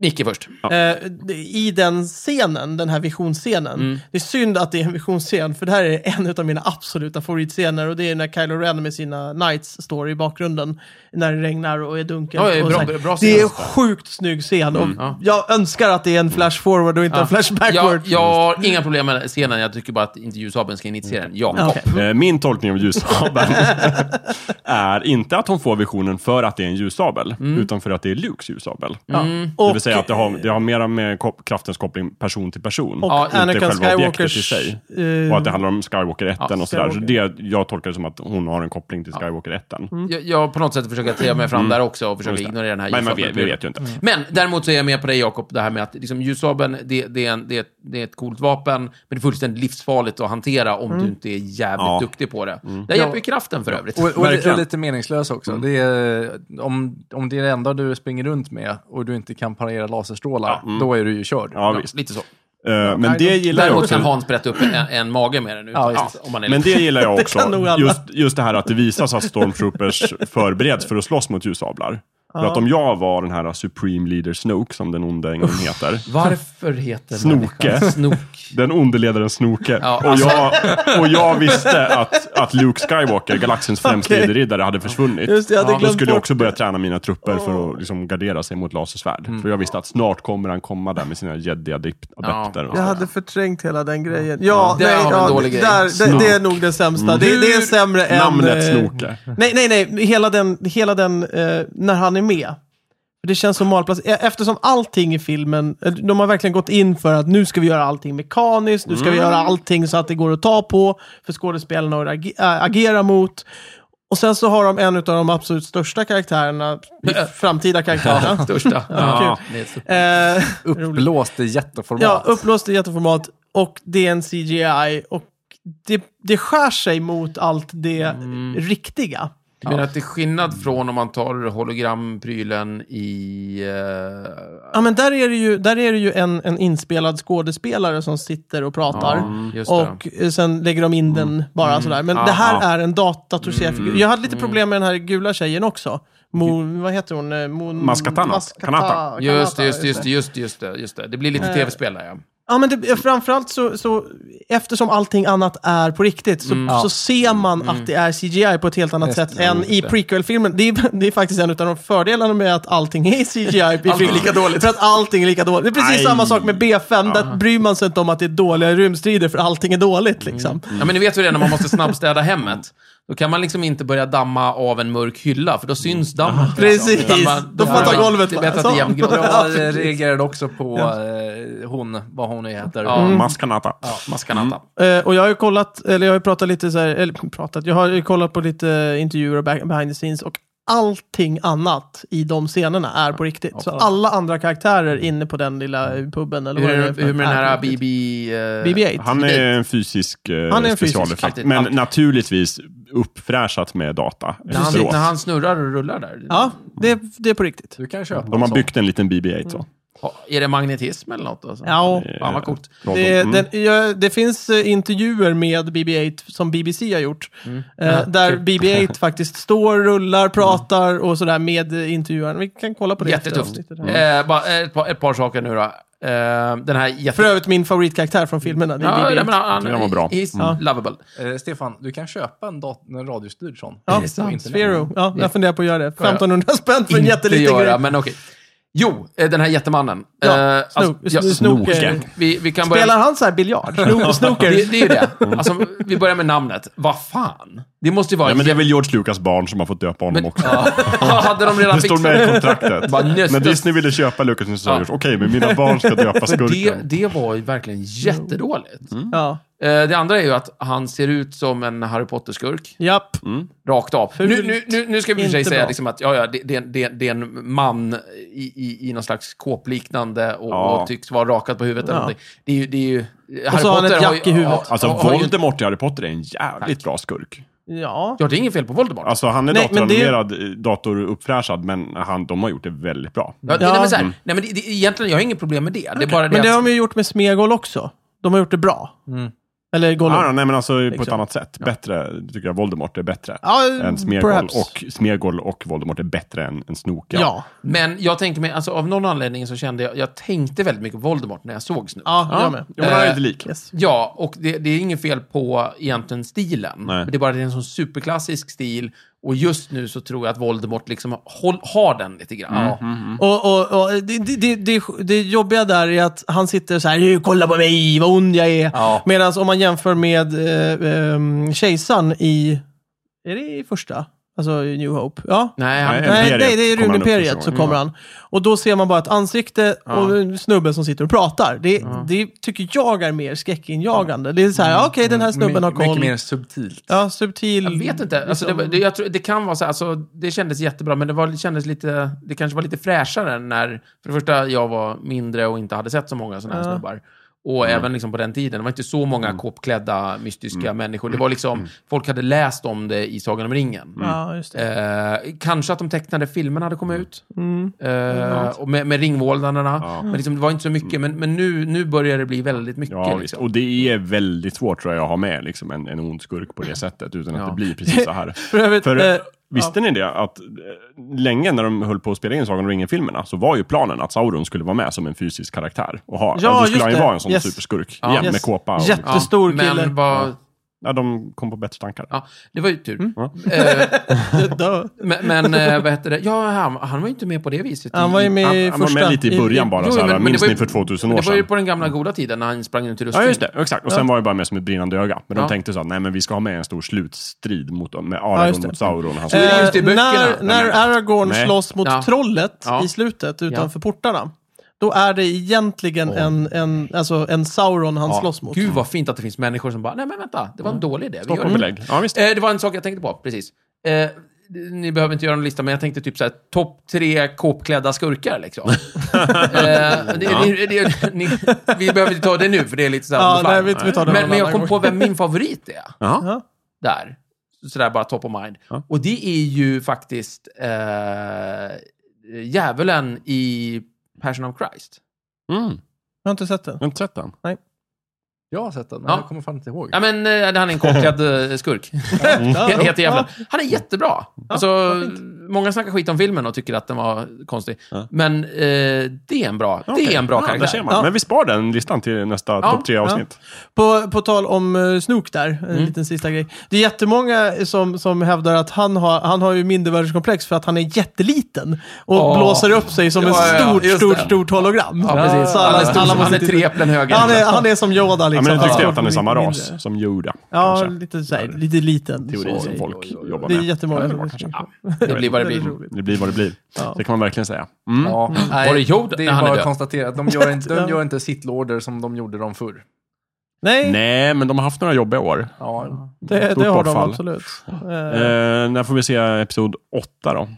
Speaker 2: Nicke först.
Speaker 1: Eh, det- I den scenen, den här visionsscenen. Det är synd att det är en visionsscen, för det här är en av mina absoluta favoritscener. Och det är när Kylo Ren med sina Knights står i bakgrunden. När det regnar och är dunkelt.
Speaker 2: Ja, ja,
Speaker 1: och
Speaker 2: bra-
Speaker 1: så här.
Speaker 2: bra scen.
Speaker 1: det är en sjukt snygg scen. Och
Speaker 2: ja.
Speaker 1: Jag önskar att det är en flash forward och inte en flash backward.
Speaker 2: Jag, jag har inga problem med scenen, jag tycker bara att inte ljussabeln ska initiera den. Jakob.
Speaker 1: Ja, okej.
Speaker 3: Eh, Min tolkning av ljussabeln <laughs> är inte att hon får visionen för att det är en ljussabel, utan för att det är Lukes ljussabel.
Speaker 1: Och,
Speaker 3: Det vill säga att det har, det har mera med kop- kraftens koppling person till person.
Speaker 1: och
Speaker 2: Ja, inte
Speaker 1: Anakin
Speaker 3: själva objektet i
Speaker 1: Skywalkers...
Speaker 3: sig.
Speaker 1: eh,
Speaker 3: Och att det handlar om Skywalker 1
Speaker 2: Ja,
Speaker 3: och sådär. Så
Speaker 1: Skywalker. Mm.
Speaker 3: det, jag tolkar det som att hon har en koppling till Skywalker 1.
Speaker 2: Jag, jag på något sätt försöker treva mig fram där också och försöker
Speaker 3: Mm. Just det.
Speaker 2: ignorera den här
Speaker 3: Men man
Speaker 2: ljussabeln.
Speaker 3: vet, vi vet ju inte.
Speaker 2: Men däremot så är jag med på dig Jakob, det här med att liksom, ljussabeln, det, det, är en, det, är ett- det är ett coolt vapen, men det är fullständigt livsfarligt att hantera om du inte är jävligt
Speaker 3: Mm. Ja. Mm.
Speaker 2: duktig på det. Där hjälper ju kraften för övrigt.
Speaker 4: Och, och,
Speaker 3: Verkligen. Mm.
Speaker 4: och lite meningslös också. Det är, om, om det är det enda du springer runt med och du inte kan parera laserstrålar, då är du ju körd.
Speaker 3: Mm. Ja,
Speaker 2: Ja,
Speaker 3: visst.
Speaker 2: lite så.
Speaker 3: Eh, men det gillar jag
Speaker 2: Däremot kan
Speaker 3: också.
Speaker 2: Hans bretta upp en, en mage med den. Utan,
Speaker 4: Ja,
Speaker 2: ja,
Speaker 4: visst.
Speaker 2: om man är
Speaker 3: Men det gillar jag
Speaker 1: <laughs> Det
Speaker 3: också.
Speaker 1: kan nog alla.
Speaker 3: just, just det här att det visas
Speaker 1: <laughs>
Speaker 3: att stormtroopers förbereds för att slåss mot ljussablar. För att om jag var den här Supreme Leader Snoke, som den onda
Speaker 1: <laughs>
Speaker 3: ängeln heter.
Speaker 2: Varför heter
Speaker 3: Snoke.
Speaker 2: människan Snok.
Speaker 3: Den onde ledaren Snoke.
Speaker 2: Ja,
Speaker 3: och,
Speaker 2: alltså-
Speaker 3: jag, och jag visste att, att Luke Skywalker, galaxens främste
Speaker 1: <laughs> Okej.
Speaker 3: riddare, hade försvunnit.
Speaker 1: Just det, Mm. jag hade
Speaker 3: Då
Speaker 1: glömt
Speaker 3: skulle jag
Speaker 1: bort
Speaker 3: också börja träna mina trupper för att liksom gardera sig mot lasersvärd. För jag visste att snart kommer han komma där med sina jedi-adepter.
Speaker 1: Jag hade förträngt hela den grejen. Ja,
Speaker 2: Det
Speaker 1: nej,
Speaker 2: var en
Speaker 1: ja,
Speaker 2: dålig grej.
Speaker 1: där, det, det är nog det sämsta. Det, det är sämre än...
Speaker 3: Namnet
Speaker 1: eh,
Speaker 3: Snoke.
Speaker 1: Nej, nej, nej. Hela den, hela den eh, när han är med. Det känns som malplats. E- Eftersom allting i filmen, eh, de har verkligen gått in för att nu ska vi göra allting mekaniskt, nu ska vi göra allting så att det går att ta på för skådespelarna att ag- agera mot. Och sen så har de en av de absolut största karaktärerna, framtida
Speaker 2: <laughs>
Speaker 1: karaktärerna.
Speaker 2: <laughs> Största.
Speaker 1: Ja,
Speaker 2: det är så.
Speaker 1: eh,
Speaker 4: Uppblåst i jätteformat.
Speaker 1: Ja, upplåst i jätteformat och det är en CGI och det, det skär sig mot allt det riktiga.
Speaker 2: Du menar att det är
Speaker 1: Mm.
Speaker 2: skillnad från om man tar hologramprylen i... eh,
Speaker 1: Ja, men där är det ju, där är det ju en, en inspelad skådespelare som sitter och pratar.
Speaker 2: Ja, just det.
Speaker 1: och eh, sen lägger de in den bara sådär. Men
Speaker 2: Ah, Mm.
Speaker 1: det här
Speaker 3: ah.
Speaker 1: är en datatorserad figur. Jag hade lite problem med den här gula tjejen också. Mo, vad heter hon? Eh, Mo,
Speaker 3: Maskatana.
Speaker 1: Maskata-
Speaker 3: Kanata.
Speaker 2: Just det,
Speaker 1: Kanata,
Speaker 2: just det, just det, just det, just det, just det. Det blir
Speaker 1: Eh.
Speaker 2: lite tv-spel där, ja.
Speaker 1: Ja, men det, framförallt så, så, eftersom allting annat är på riktigt, så, så ser man att det är CGI på ett helt annat sätt än i prequel-filmen. Det är, <laughs> det är faktiskt en av de fördelarna med att allting är CGI i filmen.
Speaker 2: lika dåligt.
Speaker 1: För att allting är lika dåligt. Det är precis
Speaker 3: Aj.
Speaker 1: samma sak med B5, där bryr man sig inte om att det är dåliga rymdstrider, för allting är dåligt liksom.
Speaker 2: Ja, men ni vet hur det är när man måste snabbstäda hemmet. Då kan man liksom inte börja damma av en mörk hylla, för då syns dammet.
Speaker 1: Mm.
Speaker 2: liksom.
Speaker 1: Precis.
Speaker 2: Utan man-
Speaker 1: Då får man ta golvet
Speaker 2: Det är bättre att det
Speaker 1: bara.
Speaker 2: är jämngrått.
Speaker 1: <laughs> Ja,
Speaker 4: Jag eh,
Speaker 1: precis.
Speaker 4: reagerade också på eh, hon, vad hon nu heter.
Speaker 2: Ja, mm.
Speaker 3: Maskanata.
Speaker 2: maskanata.
Speaker 1: Eh, och jag har ju kollat, eller jag har ju pratat lite så här, eller pratat, jag har ju kollat på lite intervjuer och back- behind the scenes och allting annat i de scenerna är på riktigt. Så alla andra karaktärer inne på den lilla puben eller
Speaker 2: Hur,
Speaker 1: vad
Speaker 2: är
Speaker 1: det är
Speaker 2: det-
Speaker 1: för-
Speaker 2: hur med den
Speaker 1: är
Speaker 2: här
Speaker 1: på riktigt.
Speaker 2: BB... eh,
Speaker 1: BB-8.
Speaker 3: Han är en fysisk eh,
Speaker 1: Han är en fysisk,
Speaker 3: specialeffekt.
Speaker 2: alltid,
Speaker 3: men
Speaker 2: alltid.
Speaker 3: naturligtvis uppfräschat med data
Speaker 2: När han,
Speaker 3: efteråt.
Speaker 2: när han snurrar och rullar där.
Speaker 1: Ja, det, det är på riktigt.
Speaker 4: Du kan köpa
Speaker 3: De
Speaker 4: en
Speaker 3: har
Speaker 4: sån.
Speaker 3: byggt en liten BB-8
Speaker 1: Mm.
Speaker 3: så.
Speaker 2: Ha- Är det magnetism eller något? Alltså?
Speaker 1: Ja.
Speaker 2: Fan vad coolt.
Speaker 1: Det,
Speaker 3: Mm.
Speaker 1: den, ja, det finns eh, intervjuer med BB-8 som BBC har gjort.
Speaker 2: Mm.
Speaker 1: Eh, där
Speaker 2: <laughs>
Speaker 1: BB-8 faktiskt står, rullar, pratar och sådär med eh, intervjuaren. Vi kan kolla på det. efter
Speaker 2: Jättetufft.
Speaker 1: avsnittet här.
Speaker 2: Eh, bara ett, par, ett par saker nu då. Eh, den här jätte...
Speaker 1: För övrigt min favoritkaraktär från filmerna, det är
Speaker 2: Ja,
Speaker 1: BB-8.
Speaker 2: nej, men han,
Speaker 3: Den var bra.
Speaker 2: He's lovable.
Speaker 4: Eh, Stefan, du kan köpa en, dat- en radiostyrd sån.
Speaker 1: Ja,
Speaker 4: på
Speaker 1: sant.
Speaker 4: internet.
Speaker 1: Sphero. Ja, jag funderar på att göra det.
Speaker 2: jag
Speaker 1: 1500 spänn för en
Speaker 2: Inte
Speaker 1: jätteliten
Speaker 2: göra,
Speaker 1: grej.
Speaker 2: men okej. Jo, eh, den här jättemannen.
Speaker 1: Ja,
Speaker 2: Eh, alltså,
Speaker 1: Snoke-
Speaker 2: ja,
Speaker 1: Snoke-
Speaker 3: Snoke.
Speaker 2: Vi, vi kan börja...
Speaker 1: Spelar han så här
Speaker 2: <laughs>
Speaker 1: biljard? Sno- Snooker?
Speaker 2: Det, det är
Speaker 1: <laughs>
Speaker 2: ju det.
Speaker 1: Mm.
Speaker 2: Alltså, vi börjar med namnet. Vad fan? Det måste ju vara...
Speaker 3: Ja, men det är väl George Lucas barn som har fått döpa honom också.
Speaker 2: Hade de redan
Speaker 3: Det står
Speaker 2: fixat
Speaker 3: med i kontraktet.
Speaker 2: Bara, nästa-
Speaker 3: När Disney ville köpa Lucas så sa
Speaker 2: Ja.
Speaker 3: George, okej, men mina barn
Speaker 1: <laughs>
Speaker 3: ska döpa
Speaker 2: För det,
Speaker 3: skurken.
Speaker 2: det var ju verkligen jättedåligt.
Speaker 1: Ja.
Speaker 2: Eh, Det andra är ju att han ser ut som en Harry Potter-skurk.
Speaker 1: Japp.
Speaker 2: Mm. Rakt av. Nu, nu, nu, nu ska vi i och för sig
Speaker 1: Inte
Speaker 2: säga
Speaker 1: bra.
Speaker 2: liksom att ja, ja, det, det, det, det är en man i, i, i någon slags kåpliknande och,
Speaker 3: Ja.
Speaker 2: och tycks vara rakad på huvudet. Eller
Speaker 1: Ja.
Speaker 2: någonting. det är ju... Det är ju Harry
Speaker 1: så har han ett
Speaker 2: Potter ju-
Speaker 1: jack i huvudet.
Speaker 2: har-
Speaker 3: Alltså,
Speaker 2: har- har ju-
Speaker 3: Voldemort i Harry Potter är en jävligt bra skurk.
Speaker 1: Ja.
Speaker 2: Ja, det är inget fel på Voldemort.
Speaker 3: Alltså, han är
Speaker 1: Nej, men det-
Speaker 3: datoranimerad, eh, datoruppfräschad, men han, de har gjort det väldigt bra.
Speaker 2: Ja,
Speaker 1: Ja.
Speaker 2: Nej, men så här, nej, men det, det, egentligen, jag har inget problem med det. Det är bara det,
Speaker 1: Men Mm. det
Speaker 2: att- Mm.
Speaker 1: har de ju gjort med Smegol också. De har gjort det bra. Eller Gollum.
Speaker 3: Ah, nej, men alltså på ett
Speaker 1: Liksom.
Speaker 3: annat sätt. Bättre, tycker jag Voldemort är bättre.
Speaker 1: Ja,
Speaker 3: än Smeagol
Speaker 1: perhaps.
Speaker 3: och, Smeagol och Voldemort är bättre än, än Snoka.
Speaker 1: Ja,
Speaker 2: Men jag tänker mig, alltså av någon anledning så kände jag, jag tänkte väldigt mycket på Voldemort när jag såg Snoop.
Speaker 1: ja,
Speaker 3: ja
Speaker 1: jag med.
Speaker 3: men han är
Speaker 2: Eh,
Speaker 3: inte lik.
Speaker 1: Yes.
Speaker 2: Ja, och det, det är inget fel på egentligen stilen.
Speaker 3: Nej.
Speaker 2: Men det är bara det är en sån superklassisk stil. Och just nu så tror jag att Voldemort liksom håll, har den lite grann.
Speaker 3: Mm,
Speaker 1: Och, och, och det, det- det, det, det jobbiga där är att han sitter så här, "Nu, kolla på mig, vad ond jag är.
Speaker 4: Ja.
Speaker 1: Medan om man jämför med eh, ehm, kejsaren i, är det i första? Alltså i New Hope? Ja.
Speaker 2: Nej, han,
Speaker 3: Nej.
Speaker 1: Nej,
Speaker 3: Imperiet
Speaker 1: nej, det är
Speaker 3: kommer han upp Mm.
Speaker 1: rymdimperiet
Speaker 3: ifrån,
Speaker 1: så kommer
Speaker 3: ja.
Speaker 1: han. Och då ser man bara ett ansikte och en snubbe som sitter och pratar. Det, det tycker jag är mer skräckinjagande. Det är så här,
Speaker 3: Mm.
Speaker 1: ja, okej den här snubben har
Speaker 4: Mycket
Speaker 1: koll.
Speaker 4: mer subtilt.
Speaker 1: Ja, subtil.
Speaker 2: jag vet inte. Alltså, det, var- det, jag tror, det kan vara så här, alltså, det kändes jättebra, men det, var, det kändes lite, det kanske var lite fräschare när, för det första, jag var mindre och inte hade sett så många sådana här
Speaker 1: Ja.
Speaker 2: snubbar. Och
Speaker 3: Mm.
Speaker 2: även liksom på den tiden, det var inte så många kåpklädda mystiska människor.
Speaker 3: Mm.
Speaker 2: Det var liksom, folk hade läst om det i Sagan om ringen.
Speaker 1: Ja, just det.
Speaker 2: Eh, kanske att de tecknade filmerna hade kommit ut. Eh, och med, med ringvålnaderna.
Speaker 3: Mm. Ja. Mm.
Speaker 2: Men liksom, det var inte så mycket. Men, men nu, nu börjar det bli väldigt mycket.
Speaker 3: Ja, visst.
Speaker 2: liksom.
Speaker 3: Och det är väldigt svårt tror jag att ha med liksom, en, en ond skurk på det sättet, utan att
Speaker 2: Ja.
Speaker 3: det blir precis så här.
Speaker 1: För övrigt,
Speaker 3: För,
Speaker 1: eh,
Speaker 3: visste ni det? Att eh, länge när de höll på att spela in Sagan om ringen-filmerna så var ju planen att Sauron skulle vara med som en fysisk karaktär. Och ha,
Speaker 1: Ja,
Speaker 3: ja, då
Speaker 1: just
Speaker 3: skulle han ju
Speaker 1: det.
Speaker 3: vara en sån
Speaker 1: Yes.
Speaker 3: superskurk.
Speaker 2: Ja.
Speaker 3: Igen,
Speaker 1: Yes.
Speaker 3: med kåpa. Och,
Speaker 1: Jätte-
Speaker 2: Ja,
Speaker 1: stor kille.
Speaker 2: Men vad,
Speaker 3: ja, de kom på bättre tankar.
Speaker 2: ja, det var ju tur.
Speaker 1: Mm.
Speaker 3: Ja.
Speaker 2: Eh,
Speaker 1: <laughs> dö.
Speaker 2: men men eh, vad heter det? Ja, han, han var ju inte med på det viset.
Speaker 1: Han var ju med
Speaker 3: Han,
Speaker 1: i
Speaker 3: han var
Speaker 1: första.
Speaker 3: med lite i början bara,
Speaker 2: Jo,
Speaker 3: så här,
Speaker 2: men- men
Speaker 3: minns
Speaker 2: det var
Speaker 3: ni
Speaker 2: ju-
Speaker 3: för 2000 år
Speaker 2: Det var ju
Speaker 3: sedan?
Speaker 2: på den gamla goda tiden när han sprang runt i rustning.
Speaker 3: Ja, just det. Exakt. Och sen
Speaker 1: Ja.
Speaker 3: var det bara med som ett brinnande öga. Men
Speaker 2: Ja.
Speaker 3: de tänkte så att nej, men vi ska ha med en stor slutstrid mot, med
Speaker 1: Ja,
Speaker 3: Aragorn
Speaker 1: just det.
Speaker 3: mot Sauron. Han ska-
Speaker 2: är det just i
Speaker 1: Eh,
Speaker 2: böckerna.
Speaker 1: När, när Aragorn
Speaker 3: Nej.
Speaker 1: slåss mot
Speaker 2: Ja.
Speaker 1: trollet
Speaker 2: Ja.
Speaker 1: i slutet utanför portarna, då är det egentligen en, en, alltså en Sauron han
Speaker 2: Ja.
Speaker 1: slåss mot. Mm.
Speaker 2: Gud vad fint att det finns människor som bara, nej men vänta, det var en dålig idé. Vi gör
Speaker 3: Stockholm
Speaker 2: det."
Speaker 3: belägg. Ja, visst.
Speaker 2: Eh, det var en sak jag tänkte på, precis. Eh, ni behöver inte göra en lista, men jag tänkte typ såhär, topp tre kåpklädda skurkar
Speaker 1: <laughs>
Speaker 2: liksom. eh, det, det, det, ni, vi behöver inte ta det nu, för det är lite såhär
Speaker 1: Ja,
Speaker 2: on the fly.
Speaker 1: nej, vi- vi tar det någon
Speaker 2: men, men jag
Speaker 1: annan
Speaker 2: kom
Speaker 1: gång.
Speaker 2: på vem min favorit är,
Speaker 3: Jaha.
Speaker 1: Ja.
Speaker 2: där. Sådär bara top of mind.
Speaker 3: Ja.
Speaker 2: Och det är ju faktiskt eh, djävulen i Passion of Christ.
Speaker 3: Mm.
Speaker 1: Jag har inte sett den.
Speaker 3: Jag har inte sett den.
Speaker 4: Jag har sett den, men
Speaker 2: Ja.
Speaker 4: jag kommer fan inte ihåg.
Speaker 2: Ja, men eh, han är en kåpklädd eh, skurk.
Speaker 3: Mm.
Speaker 1: Ja,
Speaker 2: He- heter
Speaker 1: ja.
Speaker 2: jäveln. Han är jättebra. Alltså,
Speaker 1: vad fint.
Speaker 2: många snackar skit om filmen och tycker att den var konstig.
Speaker 3: Ja.
Speaker 2: Men eh, det är en bra, det är en bra
Speaker 3: ja, Där
Speaker 2: karaktär.
Speaker 3: ser man.
Speaker 1: Ja.
Speaker 3: Men vi spar den listan till nästa
Speaker 2: Ja. Liksom
Speaker 3: topp tre avsnitt.
Speaker 1: På, på tal om uh, Snook där, en
Speaker 2: Mm.
Speaker 1: liten sista grej. Det är jättemånga som, som hävdar att han har, han har ju mindervärdeskomplex för att han är jätteliten och
Speaker 2: Åh.
Speaker 1: blåser upp sig som ett
Speaker 2: Ja, ja, ja,
Speaker 1: stort,
Speaker 2: just
Speaker 1: stort,
Speaker 2: det.
Speaker 1: stort hologram.
Speaker 2: Ja, precis.
Speaker 1: Så
Speaker 2: han,
Speaker 1: alla,
Speaker 2: är stor,
Speaker 1: alla
Speaker 2: han
Speaker 1: måste
Speaker 2: är tre äpplen högre.
Speaker 1: han, är, han är som Yoda
Speaker 3: Ja,
Speaker 1: liksom.
Speaker 3: men jag tyckte
Speaker 1: Fast
Speaker 3: att han är
Speaker 1: lite
Speaker 3: samma ras
Speaker 1: mindre.
Speaker 3: som Yoda.
Speaker 1: Ja,
Speaker 3: kanske.
Speaker 1: lite, så här, lite liten.
Speaker 3: Teorin
Speaker 1: Så-
Speaker 3: som folk jobbar
Speaker 1: Det är
Speaker 3: med.
Speaker 1: jättemånga
Speaker 3: Ja,
Speaker 1: som
Speaker 3: kanske.
Speaker 1: tycker.
Speaker 2: det blir vad det blir.
Speaker 1: Väldigt roligt.
Speaker 3: Det blir vad det blir.
Speaker 1: Ja.
Speaker 3: Det kan man verkligen säga. Mm.
Speaker 4: Ja. Nej,
Speaker 2: Var det Yoda?
Speaker 4: Det
Speaker 2: Nej,
Speaker 4: är
Speaker 2: han är
Speaker 4: bara
Speaker 2: död.
Speaker 4: att konstatera att de gör
Speaker 1: <laughs>
Speaker 4: inte,
Speaker 1: Ja.
Speaker 4: de gör inte sitlorder som de gjorde dem förr.
Speaker 2: Eh.
Speaker 1: Nej,
Speaker 3: Nej, men de har haft några jobbiga år.
Speaker 4: Ja.
Speaker 1: det,
Speaker 3: Stort
Speaker 1: det har de
Speaker 3: bortfall.
Speaker 1: absolut.
Speaker 3: Eh,
Speaker 1: Eh,
Speaker 3: när får vi se episod åtta då?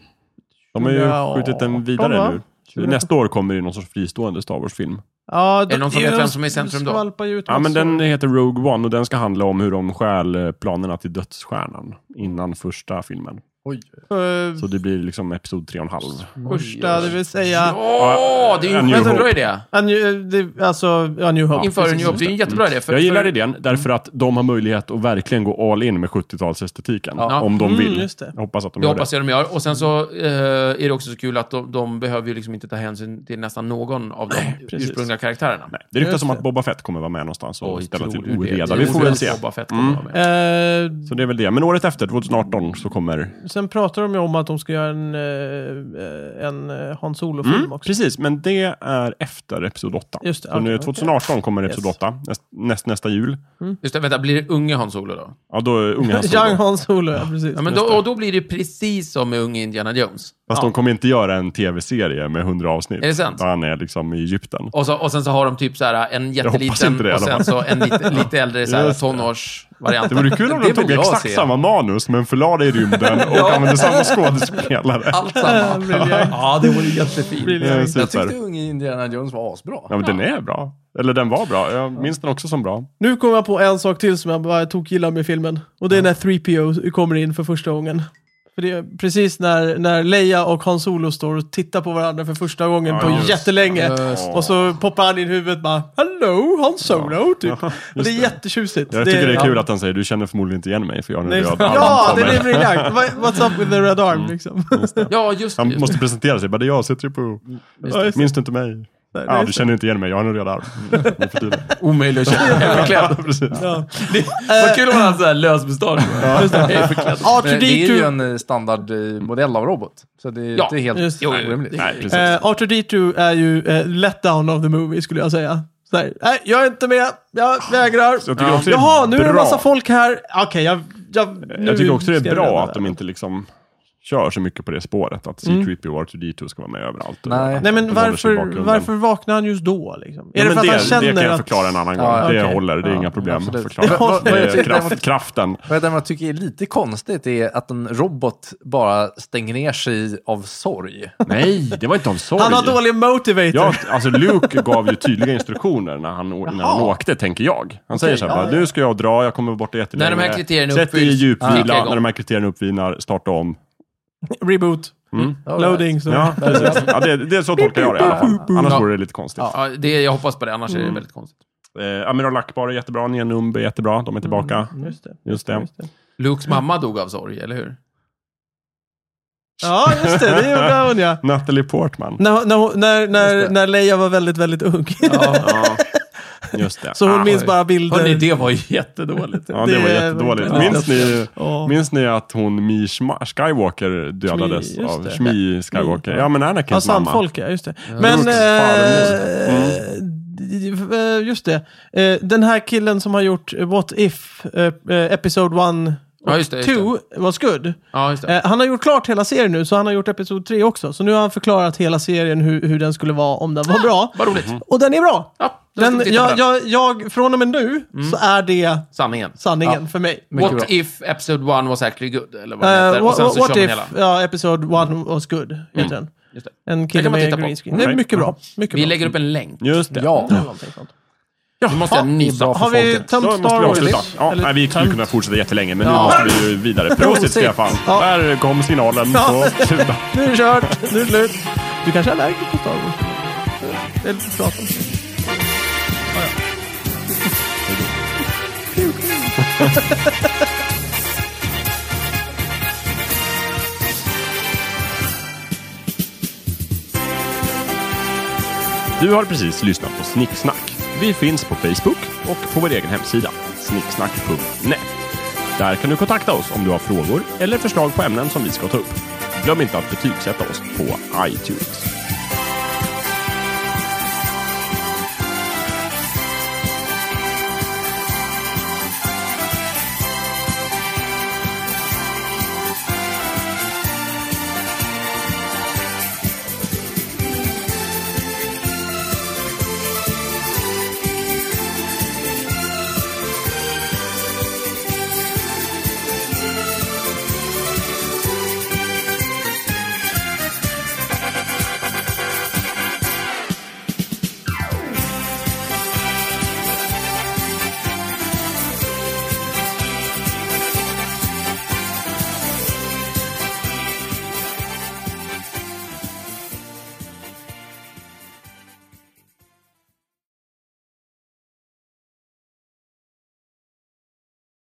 Speaker 3: De har ju
Speaker 1: Ja,
Speaker 3: skjutit den vidare
Speaker 1: va?
Speaker 3: nu. Nästa år kommer det någon sorts fristående Star Wars-film.
Speaker 1: ja,
Speaker 2: det någon som vet vem som är i centrum då?
Speaker 1: skvalpar ju ut
Speaker 3: Ja, men
Speaker 2: Alltså-
Speaker 1: massor.
Speaker 3: den heter Rogue One och den ska handla om hur de stjäl eh, planerna till dödsstjärnan innan första filmen.
Speaker 4: Oj.
Speaker 1: Eh,
Speaker 3: Så det blir liksom episod tre och en halv.
Speaker 1: första, det vill säga...
Speaker 2: Åh, det är ju
Speaker 3: A
Speaker 2: en
Speaker 3: New
Speaker 2: jättebra
Speaker 3: Hope.
Speaker 2: idé.
Speaker 1: A new, det, alltså, ja, New Hope.
Speaker 2: Inför en jobb. Det är ju en jättebra idé. För,
Speaker 3: Jag gillar
Speaker 2: för,
Speaker 3: idén därför att de har möjlighet att verkligen gå all in med 70-talsestetiken.
Speaker 2: Ja.
Speaker 3: Om de
Speaker 1: Mm,
Speaker 3: vill.
Speaker 1: just det.
Speaker 3: Jag hoppas att de
Speaker 2: Det
Speaker 3: gör
Speaker 2: hoppas jag de gör. Och sen så eh, är det också så kul att de, de behöver ju liksom inte ta hänsyn till nästan någon av de
Speaker 3: precis.
Speaker 2: ursprungliga karaktärerna.
Speaker 3: det. Det ryktas
Speaker 1: Just
Speaker 3: om
Speaker 1: det.
Speaker 3: att Boba Fett kommer vara med någonstans och
Speaker 2: Oj,
Speaker 3: ställa
Speaker 2: tror
Speaker 3: till
Speaker 2: du det?
Speaker 3: oreda.
Speaker 2: Det
Speaker 3: Vi får
Speaker 2: tror
Speaker 3: väl
Speaker 2: jag
Speaker 3: se.
Speaker 2: Boba Fett kommer vara med.
Speaker 1: Eh,
Speaker 3: Så det är väl det. Men året efter, 2018, så kommer...
Speaker 1: sen pratar de ju om att de ska göra en, eh, en eh, Han Solo-film
Speaker 3: Mm,
Speaker 1: också.
Speaker 3: precis, men det är efter Episod 8.
Speaker 1: Just det,
Speaker 3: så nu
Speaker 1: okej.
Speaker 3: 2018 kommer Episod
Speaker 1: Yes.
Speaker 3: 8, näst, näst, nästa jul.
Speaker 2: Just det, vänta, blir det unge Han Solo då?
Speaker 3: Ja, då är
Speaker 1: <laughs>
Speaker 3: unga Han Solo.
Speaker 1: Young Han Solo, ja precis.
Speaker 2: Ja, men då, och då blir det precis som med unge Indiana Jones.
Speaker 3: Fast de kommer inte göra en tv-serie med 100 avsnitt.
Speaker 2: Är det sant?
Speaker 3: Där han är liksom i Egypten.
Speaker 2: Och, så, och sen så har de typ så här en jätteliten
Speaker 3: inte det i
Speaker 2: och sen
Speaker 3: alla
Speaker 2: så en lite, lite äldre så här,
Speaker 3: Just det.
Speaker 2: tonårsvariant.
Speaker 3: Det vore kul om
Speaker 4: Det
Speaker 3: de
Speaker 4: vill
Speaker 3: tog
Speaker 4: jag
Speaker 3: exakt
Speaker 4: se.
Speaker 3: samma manus, men förlade i rymden och använde samma skådespelare.
Speaker 2: Allt samma. <laughs> ja, det vore jättefint.
Speaker 3: Eh,
Speaker 1: Brilliant.
Speaker 4: Jag
Speaker 3: Super.
Speaker 4: tyckte unge Indiana Jones var asbra.
Speaker 3: Ja, men den är bra. Eller den var bra. Jag minns den också som bra.
Speaker 1: Nu kom jag på en sak till som jag bara tog gillar med filmen. Och det är när 3PO kommer in för första gången. För det är precis när, när Leia och Han Solo står och tittar på varandra för första gången
Speaker 3: Ja,
Speaker 1: på
Speaker 3: just.
Speaker 1: jättelänge.
Speaker 3: Just.
Speaker 1: Och så poppar han in huvudet bara Hello Han Solo typ. och det är
Speaker 3: det.
Speaker 1: jättetjusigt.
Speaker 3: Jag tycker det är kul
Speaker 1: ja.
Speaker 3: att han säger du känner förmodligen inte igen mig för jag har en
Speaker 1: Nej,
Speaker 3: röd
Speaker 1: <laughs> ja,
Speaker 3: arm på
Speaker 1: den är
Speaker 3: mig.
Speaker 1: briljant. <laughs> What- What's up with the red
Speaker 3: Mm.
Speaker 1: arm liksom? <laughs>
Speaker 2: Ja, just
Speaker 3: Han
Speaker 2: det.
Speaker 3: måste presentera sig, bara det är jag, Citripo.
Speaker 1: Mm,
Speaker 3: Minns du inte mig?
Speaker 1: Nej, det
Speaker 3: Ja,
Speaker 1: är
Speaker 3: du
Speaker 1: så.
Speaker 3: känner inte igen mig, jag har en röd arm.
Speaker 1: <laughs>
Speaker 3: Mm, nu för tiden.
Speaker 2: Omöjlig att
Speaker 3: <laughs>
Speaker 2: känna
Speaker 3: Ja,
Speaker 2: hemmaklädd.
Speaker 3: precis.
Speaker 1: Ja.
Speaker 2: Vad kul om han hade sån här lös mustasch.
Speaker 4: Men det är ju
Speaker 1: R2D2
Speaker 4: en eh, standardmodell av robot. Så det är ju
Speaker 2: Ja,
Speaker 4: inte helt
Speaker 1: just det.
Speaker 4: orimligt.
Speaker 3: Nej, precis.
Speaker 1: Eh, R2D2 är ju eh, letdown of the movie skulle jag säga. Så här, Nej, jag är inte med. Jag vägrar.
Speaker 3: Ah, Så jag tycker också det är
Speaker 1: Jaha, nu är det en
Speaker 3: bra.
Speaker 1: massa folk här. Okej, jag, jag, nu
Speaker 3: Jag tycker också det
Speaker 1: ska
Speaker 3: är
Speaker 1: jag
Speaker 3: bra
Speaker 1: rädda
Speaker 3: att de inte liksom kör så mycket på det spåret. Att C-3PO och R2D2 ska vara med överallt. och
Speaker 4: Nej.
Speaker 3: att
Speaker 1: Mm. Nej, men
Speaker 3: de håller sig i
Speaker 1: varför,
Speaker 3: bakgrunden.
Speaker 1: varför vaknar han just då? Liksom?
Speaker 3: Ja,
Speaker 1: är det för
Speaker 3: men
Speaker 1: att han
Speaker 3: det,
Speaker 1: känner
Speaker 3: det kan jag
Speaker 1: att...
Speaker 3: förklara en annan gång.
Speaker 4: Ja,
Speaker 3: det
Speaker 1: okej.
Speaker 3: håller, det är
Speaker 4: Ja,
Speaker 3: inga problem.
Speaker 4: absolut.
Speaker 1: Det
Speaker 3: Förklara.
Speaker 1: håller.
Speaker 3: Det
Speaker 4: Jag
Speaker 3: är
Speaker 4: tycker
Speaker 3: kraft,
Speaker 4: däremot-
Speaker 3: kraften.
Speaker 4: Vad jag däremot tycker är lite konstigt är att en robot bara stänger ner sig av sorg.
Speaker 3: Nej, det var inte av sorg.
Speaker 1: Han har dålig motivator.
Speaker 3: Ja, alltså Luke gav ju tydliga instruktioner när han, när han åkte, tänker jag. Han säger så här, bara, nu ska jag dra, jag kommer borta jättelänge.
Speaker 2: När de här kriterierna
Speaker 3: Sätt dig i
Speaker 2: uppfylls,
Speaker 3: djupvila,
Speaker 2: gick jag igång.
Speaker 3: när de här kriterierna uppvinar, starta om.
Speaker 1: <laughs>
Speaker 3: Mm.
Speaker 1: Reboot. Loading. Så.
Speaker 3: Ja, precis. Ja, det, det är så tolkar jag det i alla fall. Annars vore det lite konstigt.
Speaker 2: Ja, det, jag hoppas på det, annars är
Speaker 3: Mm.
Speaker 2: det väldigt konstigt.
Speaker 3: Eh, Amiral Akbar är jättebra, Nia Numbe är jättebra, de är tillbaka.
Speaker 1: Mm, Just det.
Speaker 3: Just det.
Speaker 1: Just det.
Speaker 2: Lukes mamma dog av sorg, eller hur?
Speaker 1: Ja, just det. Det gjorde hon ja.
Speaker 3: Natalie Portman.
Speaker 1: När, när, hon- när,
Speaker 4: Just
Speaker 1: när,
Speaker 4: det.
Speaker 1: när Leia var väldigt, väldigt ung.
Speaker 3: Ja, just det.
Speaker 1: <laughs> så hon
Speaker 3: Ah,
Speaker 1: minns bara bilder.
Speaker 2: Hörni, det var jättedåligt.
Speaker 3: Ja, det var
Speaker 1: det-
Speaker 3: jättedåligt.
Speaker 1: Ja.
Speaker 3: Minns ni,
Speaker 1: Ja.
Speaker 3: minns ni att hon, Mi Schma- Skywalker, dödades
Speaker 1: Shmi, just
Speaker 3: av
Speaker 1: det. Mm. Alltså,
Speaker 3: Shmi Skywalker? Ja, men
Speaker 1: Ja,
Speaker 3: Anakins mamma.
Speaker 1: samfolk, ja. Just det. Men...
Speaker 3: Brooks farmor.
Speaker 1: Eh, d- d- eh, just det. Eh, den här killen som har gjort eh, What If, eh, eh, Episode 1
Speaker 2: Ja, just det, just
Speaker 1: Two was good.
Speaker 2: Ja, just det.
Speaker 1: Eh, han har gjort klart hela serien nu, så han har gjort Episod 3 också. Så nu har han förklarat hela serien hur, hur den skulle vara om den var bra.
Speaker 2: Vad roligt.
Speaker 3: Mm.
Speaker 1: Och den är bra!
Speaker 2: Ja, då ska vi
Speaker 1: Den,
Speaker 2: titta på Mm.
Speaker 1: jag,
Speaker 2: den.
Speaker 1: jag, jag, från och med nu så är det
Speaker 2: Sanningen.
Speaker 1: sanningen för mig.
Speaker 4: Mycket
Speaker 2: What
Speaker 4: bra.
Speaker 2: if episode one was actually good? Eller vad den
Speaker 1: Uh,
Speaker 2: heter. Och sen
Speaker 1: what
Speaker 2: så kör
Speaker 1: what
Speaker 2: man
Speaker 1: if,
Speaker 2: hela.
Speaker 1: ja, Episod 1 was good, heter den.
Speaker 2: Just det.
Speaker 1: En
Speaker 2: Det
Speaker 1: kille
Speaker 2: kan man
Speaker 1: med
Speaker 2: titta på. Mm.
Speaker 1: green screen. Det är
Speaker 3: Okej.
Speaker 1: mycket bra. Mycket
Speaker 2: Vi
Speaker 1: bra.
Speaker 2: lägger upp en länk.
Speaker 3: Just det.
Speaker 4: Ja,
Speaker 1: Eller någonting sånt.
Speaker 2: Nu måste jag nysa.
Speaker 4: bra.
Speaker 1: Har vi
Speaker 4: folket.
Speaker 1: tömt
Speaker 3: Då måste
Speaker 1: Star
Speaker 3: vi
Speaker 1: Wars?
Speaker 3: avsluta. Ja,
Speaker 1: Eller
Speaker 3: nej, vi skulle
Speaker 1: tömt-
Speaker 3: kunna fortsätta jättelänge, men
Speaker 4: Ja.
Speaker 3: nu måste vi
Speaker 1: <laughs>
Speaker 3: ju vidare. Prosit,
Speaker 4: Prosit.
Speaker 3: Stefan!
Speaker 1: Ja.
Speaker 3: Där kom signalen.
Speaker 1: <laughs> Ja.
Speaker 3: Så, sluta.
Speaker 1: Nu är det kört, nu är det slut. Du kanske är allergisk mot Star Wars? Det är lite prat om det.
Speaker 3: Du har precis lyssnat på Snicksnack. Vi finns på Facebook och på vår egen hemsida, snicksnack.net. Där kan du kontakta oss om du har frågor eller förslag på ämnen som vi ska ta upp. Glöm inte att betygsätta oss på iTunes.